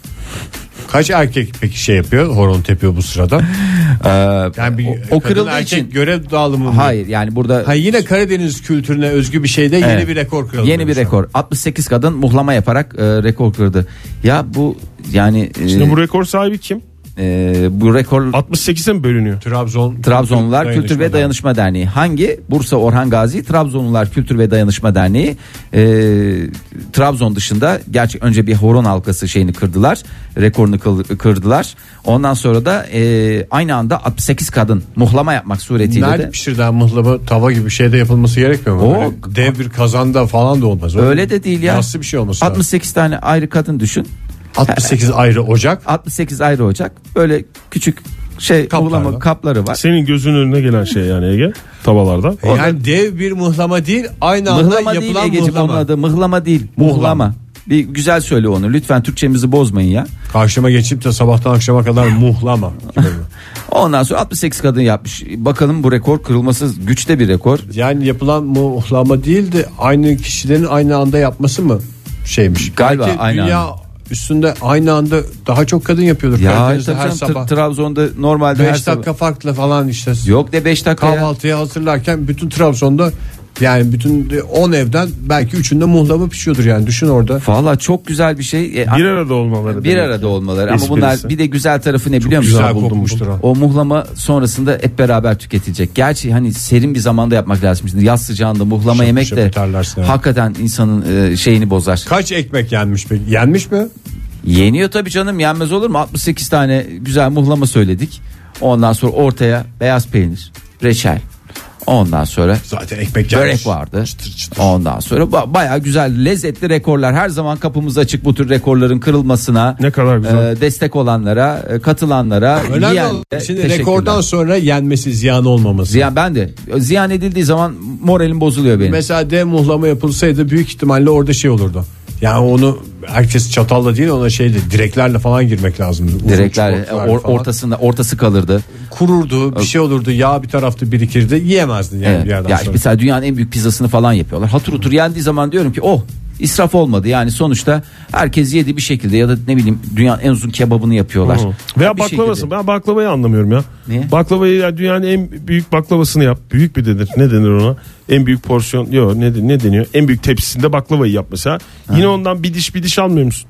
Speaker 3: dışında. Kaç erkek peki şey yapıyor horon tepiyor bu sırada? yani bir
Speaker 2: o- o
Speaker 3: Ee, o,
Speaker 2: kırıldığı
Speaker 3: erkek
Speaker 2: için-
Speaker 3: görev dağılımı. mı?
Speaker 2: Hayır yani burada
Speaker 3: Ha, yine Karadeniz kültürüne özgü bir şeyde yeni
Speaker 2: Evet.
Speaker 3: bir rekor kırıldı.
Speaker 2: Yeni bir
Speaker 3: demişler.
Speaker 2: rekor. 68 kadın muhlama yaparak e, rekor kırdı. Ya bu yani e,
Speaker 4: Şimdi bu rekor sahibi kim?
Speaker 2: e, bu rekor
Speaker 4: 68'e mi bölünüyor?
Speaker 3: Trabzon
Speaker 2: Trabzonlular Kültür ve Dayanışma Derneği. Hangi? Bursa Orhan Gazi Trabzonlular Kültür ve Dayanışma Derneği. Ee, Trabzon dışında gerçi önce bir horon halkası şeyini kırdılar. Rekorunu kıl- kırdılar. Ondan sonra da e, aynı anda 68 kadın muhlama yapmak suretiyle
Speaker 3: Nerede
Speaker 2: de.
Speaker 3: pişirilen mıhlama tava gibi bir şeyde yapılması gerekmiyor mu?
Speaker 2: O-
Speaker 3: Böyle dev bir kazanda falan da olmaz.
Speaker 2: Öyle de değil ya.
Speaker 3: şey Nasıl bir şey olması lazım?
Speaker 2: 68 tane ayrı kadın düşün.
Speaker 3: 68 ayrı ocak.
Speaker 2: 68 ayrı ocak. Böyle küçük şey
Speaker 3: Kaplar
Speaker 2: uğulama
Speaker 3: var.
Speaker 2: kapları var.
Speaker 4: Senin gözünün önüne gelen şey yani Ege tavalardan.
Speaker 3: E Yani dev bir mıhlama değil aynı anda
Speaker 2: Mıhlama değil
Speaker 3: yapılan
Speaker 2: Egeciğim onun
Speaker 3: mıhlama.
Speaker 2: adı. Mıhlama değil.
Speaker 3: Muhlama.
Speaker 2: Muhlama. Bir güzel söyle onu. Lütfen Türkçemizi bozmayın ya.
Speaker 3: Karşıma geçip de sabahtan akşama kadar muhlama.
Speaker 2: Ondan sonra 68 kadın yapmış. Bakalım bu rekor kırılması güçte bir rekor.
Speaker 3: yani yapılan muhlama değil de aynı kişilerin aynı anda yapması mı şeymiş?
Speaker 2: Galiba
Speaker 3: Belki
Speaker 2: aynı
Speaker 3: dünya
Speaker 2: anda.
Speaker 3: üstünde aynı anda daha çok kadın yapıyordur.
Speaker 2: Ya
Speaker 3: Karadeniz'de her
Speaker 2: tabii canım,
Speaker 3: sabah.
Speaker 2: Tr- Trabzon'da normalde her
Speaker 3: 5
Speaker 2: sabah-
Speaker 3: dakika farkla falan işte.
Speaker 2: Yok de 5 dakika. ya.
Speaker 3: Kahvaltıya hazırlarken bütün Trabzon'da yani bütün 10 evden belki üçünde muhlama pişiyordur yani düşün orada.
Speaker 2: Valla çok güzel bir şey. E,
Speaker 4: Bir arada olmaları.
Speaker 2: bir
Speaker 4: demek.
Speaker 2: arada olmaları
Speaker 4: Esprisi.
Speaker 2: ama bunlar bir de güzel tarafı ne biliyor musun?
Speaker 3: güzel kokmuştur o.
Speaker 2: O muhlama sonrasında hep beraber tüketilecek. Gerçi hani serin bir zamanda yapmak lazım. Şimdi yaz sıcağında muhlama
Speaker 3: Şıp
Speaker 2: yemek
Speaker 3: şıp
Speaker 2: de
Speaker 3: yutarlarsın, evet.
Speaker 2: hakikaten insanın e, şeyini bozar.
Speaker 3: Kaç ekmek yenmiş peki? Yenmiş mi?
Speaker 2: Yeniyor tabii canım yenmez olur mu? 68 tane güzel muhlama söyledik. Ondan sonra ortaya beyaz peynir, reçel. Ondan sonra
Speaker 3: Zaten ekmek yenmiş.
Speaker 2: börek vardı.
Speaker 3: Çıtır çıtır.
Speaker 2: Ondan sonra ba- bayağı güzel lezzetli rekorlar her zaman kapımız açık bu tür rekorların kırılmasına.
Speaker 4: Ne kadar güzel.
Speaker 2: e, destek olanlara, e, katılanlara,
Speaker 3: Önemli
Speaker 2: yiyen
Speaker 3: olan
Speaker 2: de
Speaker 3: şimdi
Speaker 2: teşekkürler.
Speaker 3: rekordan sonra yenmesi ziyan olmaması.
Speaker 2: ziyan ben de ziyan edildiği zaman moralim bozuluyor benim.
Speaker 3: Mesela dev muhlama yapılsaydı büyük ihtimalle orada şey olurdu. Yani onu herkes çatalla değil ona şeyle direklerle falan girmek lazım. Uzun
Speaker 2: Direkler e,
Speaker 3: çubuklarla
Speaker 2: or-
Speaker 3: falan.
Speaker 2: ortasında ortası kalırdı.
Speaker 3: kururdu bir şey olurdu yağ bir tarafta birikirdi yiyemezdin yani
Speaker 2: Evet.
Speaker 3: bir yerden
Speaker 2: Ya
Speaker 3: sonra.
Speaker 2: mesela dünyanın en büyük pizzasını falan yapıyorlar. Hatır otur yendiği zaman diyorum ki oh israf olmadı. Yani sonuçta herkes yedi bir şekilde ya da ne bileyim dünyanın en uzun kebabını yapıyorlar.
Speaker 4: Hı. Veya
Speaker 2: Bir
Speaker 4: baklavası.
Speaker 2: şekilde.
Speaker 4: Ben baklavayı anlamıyorum ya.
Speaker 2: Niye?
Speaker 4: Baklavayı ya dünyanın en büyük baklavasını yap. Büyük bir denir. Ne denir ona? En büyük porsiyon. Yok ne, ne deniyor? En büyük tepsisinde baklavayı yap mesela. Yine ondan bir diş bir diş almıyor musun?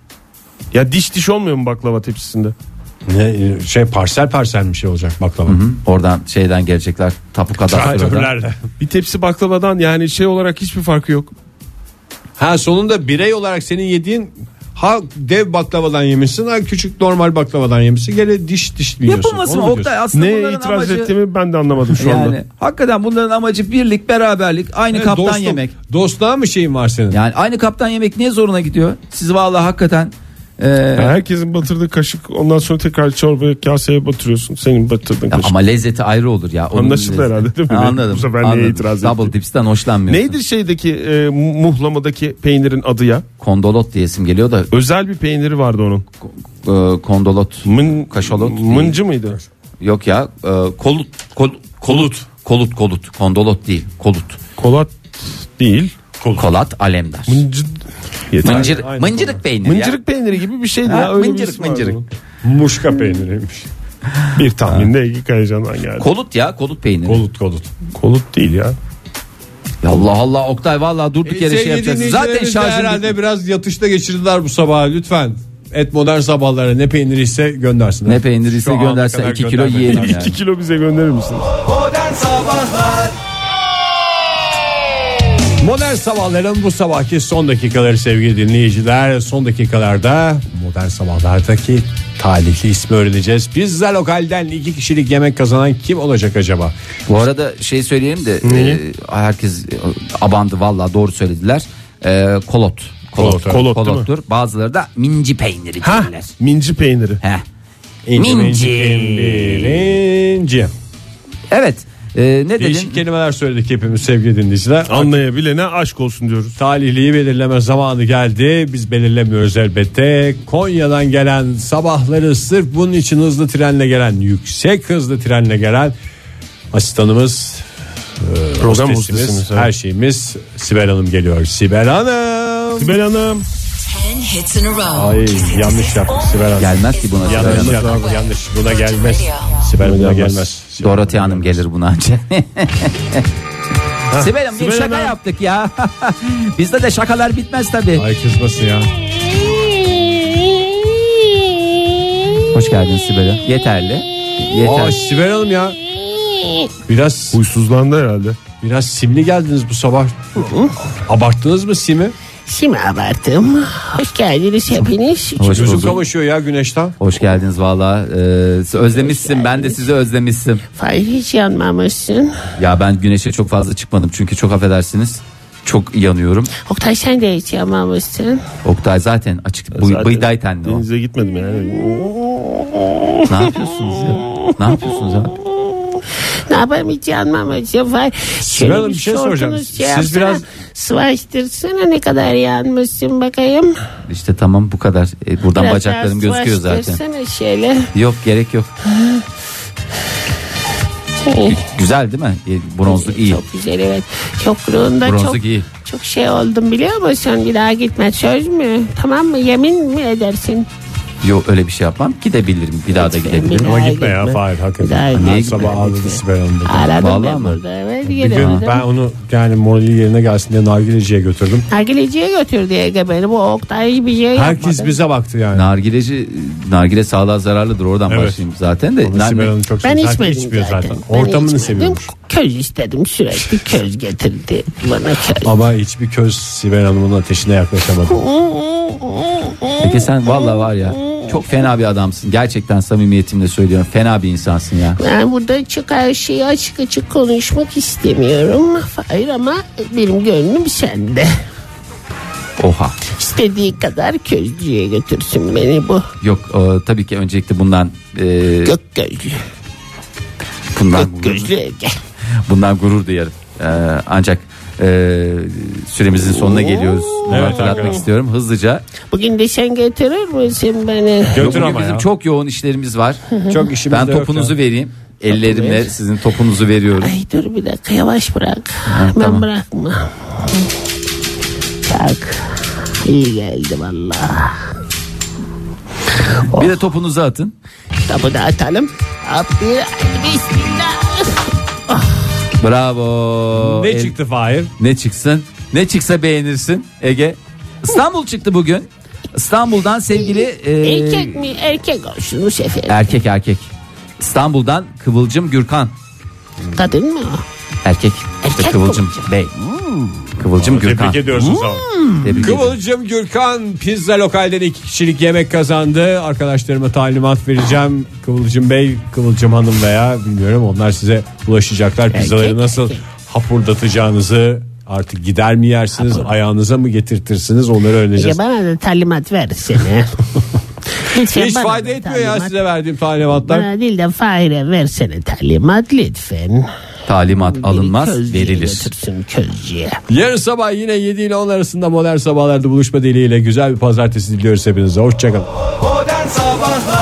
Speaker 4: Ya diş diş olmuyor mu baklava tepsisinde?
Speaker 3: Ne, şey parsel parsel bir şey olacak baklava.
Speaker 2: Hı, Oradan şeyden gelecekler tapu kadastrodan.
Speaker 3: Traktörlerle.
Speaker 4: Bir tepsi baklavadan yani şey olarak hiçbir farkı yok.
Speaker 3: Ha sonunda birey olarak senin yediğin ha dev baklavadan yemişsin ha küçük normal baklavadan yemişsin gene diş diş mi yiyorsun?
Speaker 2: Yapılması
Speaker 3: Onu
Speaker 2: mı
Speaker 3: mu diyorsun?
Speaker 2: Oktay? E, Aslında
Speaker 4: Neye
Speaker 2: bunların
Speaker 4: itiraz
Speaker 2: amacı...
Speaker 4: ettiğimi ben de anlamadım şu anda.
Speaker 2: Yani hakikaten bunların amacı birlik, beraberlik, aynı
Speaker 3: Ne,
Speaker 2: kaptan
Speaker 3: dostum,
Speaker 2: yemek.
Speaker 3: Dostluğa mı şeyin var senin?
Speaker 2: Yani aynı kaptan yemek niye zoruna gidiyor? Siz vallahi hakikaten e,
Speaker 4: Herkesin batırdığı kaşık ondan sonra tekrar çorbaya kaseye batırıyorsun. Senin batırdığın
Speaker 2: ya
Speaker 4: kaşık.
Speaker 2: ama lezzeti ayrı olur ya. Onun
Speaker 4: Anlaşıldı
Speaker 2: lezzeti-
Speaker 4: herhalde değil mi?
Speaker 2: Ha, Anladım.
Speaker 4: Bu sefer neye
Speaker 2: anladım.
Speaker 4: itiraz
Speaker 2: Double
Speaker 4: ettin?
Speaker 2: dips'ten hoşlanmıyorsun.
Speaker 4: Neydi şeydeki e, muhlamadaki peynirin adı ya?
Speaker 2: Kondolot diyesim geliyor da
Speaker 4: Özel bir peyniri vardı onun.
Speaker 2: e, kondolot.
Speaker 4: Mın,
Speaker 2: Kaşalot değil.
Speaker 4: Mıncı mıydı?
Speaker 2: Yok ya e, kolut, kol- kolut. Kolut kolut. Kondolot değil. Kolut.
Speaker 4: Kolat değil.
Speaker 2: Kolat alemdar.
Speaker 4: Mıncı. Yeter.
Speaker 2: Mıncır, mıncırık peyniri
Speaker 4: Mıncırık
Speaker 2: ya.
Speaker 4: peyniri gibi bir şeydi
Speaker 2: Ha,
Speaker 4: ya. Öyle
Speaker 2: mıncırık,
Speaker 4: bir ismi vardı
Speaker 2: mıncırık.
Speaker 4: onun.
Speaker 3: Muşka peyniriymiş.
Speaker 4: Bir tahmin de Ege Kayacan'dan geldi.
Speaker 2: Kolut ya kolut peyniri.
Speaker 3: Kolut kolut.
Speaker 4: Kolut değil ya.
Speaker 2: Ya Allah Allah Oktay vallahi durduk yere şey
Speaker 3: Sevgili
Speaker 2: yapacaksın. Zaten
Speaker 3: dinleyicilerimiz de
Speaker 2: şarjım
Speaker 3: herhalde
Speaker 2: bitti.
Speaker 3: biraz yatışta geçirdiler bu sabahı lütfen. Et modern sabahlara ne peynir ise göndersinler.
Speaker 2: Ne peynir ise
Speaker 3: Şu ana
Speaker 2: göndersen
Speaker 3: kadar
Speaker 2: iki kilo
Speaker 3: göndermediler.
Speaker 2: yiyelim.
Speaker 4: İki
Speaker 2: Yani.
Speaker 4: kilo bize gönderir misiniz?
Speaker 3: Modern Sabahların bu sabahki son dakikaları sevgili dinleyiciler. Son dakikalarda Modern Sabahlardaki talihli ismi öğreneceğiz. Pizza Lokal'den iki kişilik yemek kazanan kim olacak acaba?
Speaker 2: Bu arada şey söyleyelim de e, herkes e, abandı vallahi doğru söylediler. E, kolot.
Speaker 3: Kolot,
Speaker 2: Kolot, kolot,
Speaker 4: kolot değil mi?
Speaker 2: kolottur. Bazıları da minci peyniri derler.
Speaker 4: Minci peyniri.
Speaker 2: Heh.
Speaker 3: İnci,
Speaker 2: Minci.
Speaker 3: Birinci.
Speaker 2: Evet. E, ne
Speaker 3: Değişik
Speaker 2: dedin?
Speaker 3: kelimeler söyledik hepimiz sevgili dinleyiciler.
Speaker 4: Anlayabilene aşk olsun diyoruz.
Speaker 3: Talihliyi belirleme zamanı geldi. Biz belirlemiyoruz elbette. Konya'dan gelen sabahları sırf bunun için hızlı trenle gelen, yüksek hızlı trenle gelen asistanımız, e,
Speaker 4: Program
Speaker 3: hostesimiz,
Speaker 4: hostesimiz, evet.
Speaker 3: her şeyimiz Sibel Hanım geliyor. Sibel Hanım.
Speaker 4: Sibel Hanım.
Speaker 5: 10 hits in a row.
Speaker 3: Ay yanlış yaptık Sibel Hanım.
Speaker 2: Gelmez ki buna.
Speaker 3: Yanlış
Speaker 2: Sibel Hanım.
Speaker 3: yaptık, yanlış. Buna gelmez. Sibel buna
Speaker 4: gelmez.
Speaker 3: gelmez. Sibel
Speaker 2: Dorothy Hanım gelir buna anca. Sibel Hanım bir
Speaker 4: Sibel
Speaker 2: şaka
Speaker 4: Hanım.
Speaker 2: yaptık ya. Bizde de şakalar bitmez tabii.
Speaker 3: Ay kızmasın ya.
Speaker 2: Hoş geldin Sibel Hanım. Yeterli.
Speaker 3: Aa
Speaker 2: Yeter.
Speaker 3: Sibel Hanım ya. Biraz
Speaker 4: Huysuzlandı herhalde.
Speaker 3: biraz simli geldiniz bu sabah. Abarttınız mı simi?
Speaker 6: Şimdi abarttım. Hoş geldiniz hepiniz.
Speaker 2: Hoş
Speaker 3: Gözüm
Speaker 2: bulduk.
Speaker 3: kamaşıyor ya güneşten.
Speaker 2: Hoş geldiniz valla. Ee, özlemişsin. Ben de sizi özlemişsin.
Speaker 6: Fahir hiç yanmamışsın.
Speaker 2: Ya ben güneşe çok fazla çıkmadım. Çünkü çok affedersiniz. çok yanıyorum.
Speaker 6: Oktay sen de hiç yanmamışsın.
Speaker 2: Oktay zaten açık bu,
Speaker 4: Zaten
Speaker 2: bıydayten de o.
Speaker 4: Denize gitmedim yani.
Speaker 2: Ne yapıyorsunuz ya? Ne yapıyorsunuz abi?
Speaker 6: Ne yapayım hiç yanmamışım. Vay. Şöyle
Speaker 3: Hanım, bir şey
Speaker 6: şortunuz
Speaker 3: soracağım.
Speaker 6: Şey
Speaker 3: Siz
Speaker 6: yapsana,
Speaker 3: biraz-
Speaker 6: Sıvaştırsana ne kadar yanmışsın bakayım.
Speaker 2: İşte tamam bu kadar. E, buradan
Speaker 6: Biraz
Speaker 2: bacaklarım
Speaker 6: daha
Speaker 2: gözüküyor zaten.
Speaker 6: sıvaştırsana şöyle.
Speaker 2: Yok gerek yok. Güzel değil mi? E, Bronzluk iyi.
Speaker 6: Çok güzel evet. Çokluğunda
Speaker 2: Bronzluk
Speaker 6: çok,
Speaker 2: iyi.
Speaker 6: çok şey oldum biliyor musun? Bir daha gitme söz mü? Tamam mı? Yemin mi edersin?
Speaker 2: Yok öyle bir şey yapmam. Gidebilirim. Bir daha da gidebilirim.
Speaker 3: Ama
Speaker 6: Ay,
Speaker 3: gitme ya
Speaker 6: gitme.
Speaker 3: Fahir
Speaker 6: Ay,
Speaker 3: hakikaten.
Speaker 6: gitme,
Speaker 3: Her sabah
Speaker 6: gitme.
Speaker 3: ağladı Sibel Hanım'da.
Speaker 6: Aradım
Speaker 2: Vallahi
Speaker 6: ben
Speaker 2: mi?
Speaker 6: burada. Evet
Speaker 3: Bir gün
Speaker 6: gelemedim.
Speaker 3: ben onu yani morali yerine gelsin diye nargileciye götürdüm.
Speaker 6: Nargileciye götürdü Ege beni. Bu Oktay bir şey
Speaker 3: Herkes
Speaker 6: yapmadı.
Speaker 3: bize baktı yani.
Speaker 2: Nargileci, nargile sağlığa zararlıdır. Oradan
Speaker 3: Evet.
Speaker 2: başlayayım zaten de.
Speaker 3: Onu
Speaker 2: Nar-
Speaker 3: Sibel Hanım çok
Speaker 6: Ben
Speaker 3: seviyor.
Speaker 6: içmedim
Speaker 3: içmiyor
Speaker 6: zaten. Ben
Speaker 3: Ortamını
Speaker 6: içmedim.
Speaker 3: seviyormuş.
Speaker 6: Köz istedim sürekli köz getirdi bana köz.
Speaker 3: Ama hiçbir köz Sibel Hanım'ın ateşine yaklaşamadı.
Speaker 2: Ege sen valla var ya çok fena bir adamsın. Gerçekten samimiyetimle söylüyorum. Fena bir insansın ya.
Speaker 6: Ben burada çok her şeyi açık açık konuşmak istemiyorum. Hayır ama benim gönlüm sende.
Speaker 2: Oha.
Speaker 6: İstediği kadar közcüye götürsün beni bu
Speaker 2: Yok e, tabii ki öncelikle bundan e,
Speaker 6: gök gözlü.
Speaker 2: bundan
Speaker 6: Gök gözlü Ege.
Speaker 2: bundan gurur duyarım. E, ancak e, süremizin sonuna geliyoruz. Bunu
Speaker 3: Evet,
Speaker 2: hatırlatmak
Speaker 3: hakikaten.
Speaker 2: istiyorum hızlıca.
Speaker 6: Bugün de sen götürür müsün beni?
Speaker 2: Yok,
Speaker 3: Götür
Speaker 2: bugün
Speaker 3: ama
Speaker 2: bizim
Speaker 3: ya.
Speaker 2: çok yoğun işlerimiz var.
Speaker 3: Çok işimiz
Speaker 2: ben
Speaker 3: de yok
Speaker 2: topunuzu
Speaker 3: ya.
Speaker 2: vereyim. Ellerimle
Speaker 6: ver.
Speaker 2: sizin topunuzu veriyorum.
Speaker 6: Ay dur bir dakika yavaş bırak. ben
Speaker 2: tamam.
Speaker 6: bırakma. Bak iyi geldi vallahi.
Speaker 2: Bir de topunuzu atın.
Speaker 6: Tapu da atalım. Hop bir bismillah.
Speaker 2: Bravo.
Speaker 3: Ne
Speaker 2: El-
Speaker 3: çıktı Fahir?
Speaker 2: Ne çıksın? Ne çıksa beğenirsin Ege. İstanbul çıktı bugün. İstanbul'dan sevgili e,
Speaker 6: Erkek mi? Erkek olsun bu sefer.
Speaker 2: erkek erkek. İstanbul'dan Kıvılcım Gürkan.
Speaker 6: Kadın mı o?
Speaker 2: Erkek. İşte
Speaker 6: Erkek
Speaker 2: Kıvılcım Bey. Kıvılcım Gürkan.
Speaker 3: Tebrik ediyorsunuz ama.
Speaker 2: Tebrik ediyorum.
Speaker 3: Kıvılcım Gürkan pizza lokalden iki kişilik yemek kazandı. Arkadaşlarıma talimat vereceğim. Kıvılcım Bey, Kıvılcım Hanım veya bilmiyorum onlar size ulaşacaklar. Pizzaları nasıl
Speaker 6: erkek.
Speaker 3: hapurdatacağınızı artık gider mi yersiniz ayağınıza mı getirtirsiniz onları
Speaker 6: Ya
Speaker 3: öğreneceğiz.
Speaker 6: bana da talimat versene. Lütfen
Speaker 3: Hiç
Speaker 6: bana da
Speaker 3: fayda etmiyor ya
Speaker 6: talimat.
Speaker 3: size verdiğim talimatlar.
Speaker 6: Bana değil de Fahir'e versene talimat lütfen.
Speaker 2: Talimat alınmaz,
Speaker 6: Közcüye
Speaker 2: verilir.
Speaker 6: Götürsün közcüye.
Speaker 3: Yarın sabah yine 7 ile 10 arasında modern sabahlarda buluşma dileğiyle güzel bir pazartesi diliyoruz hepinize. Hoşçakalın.
Speaker 7: Modern Sabahlar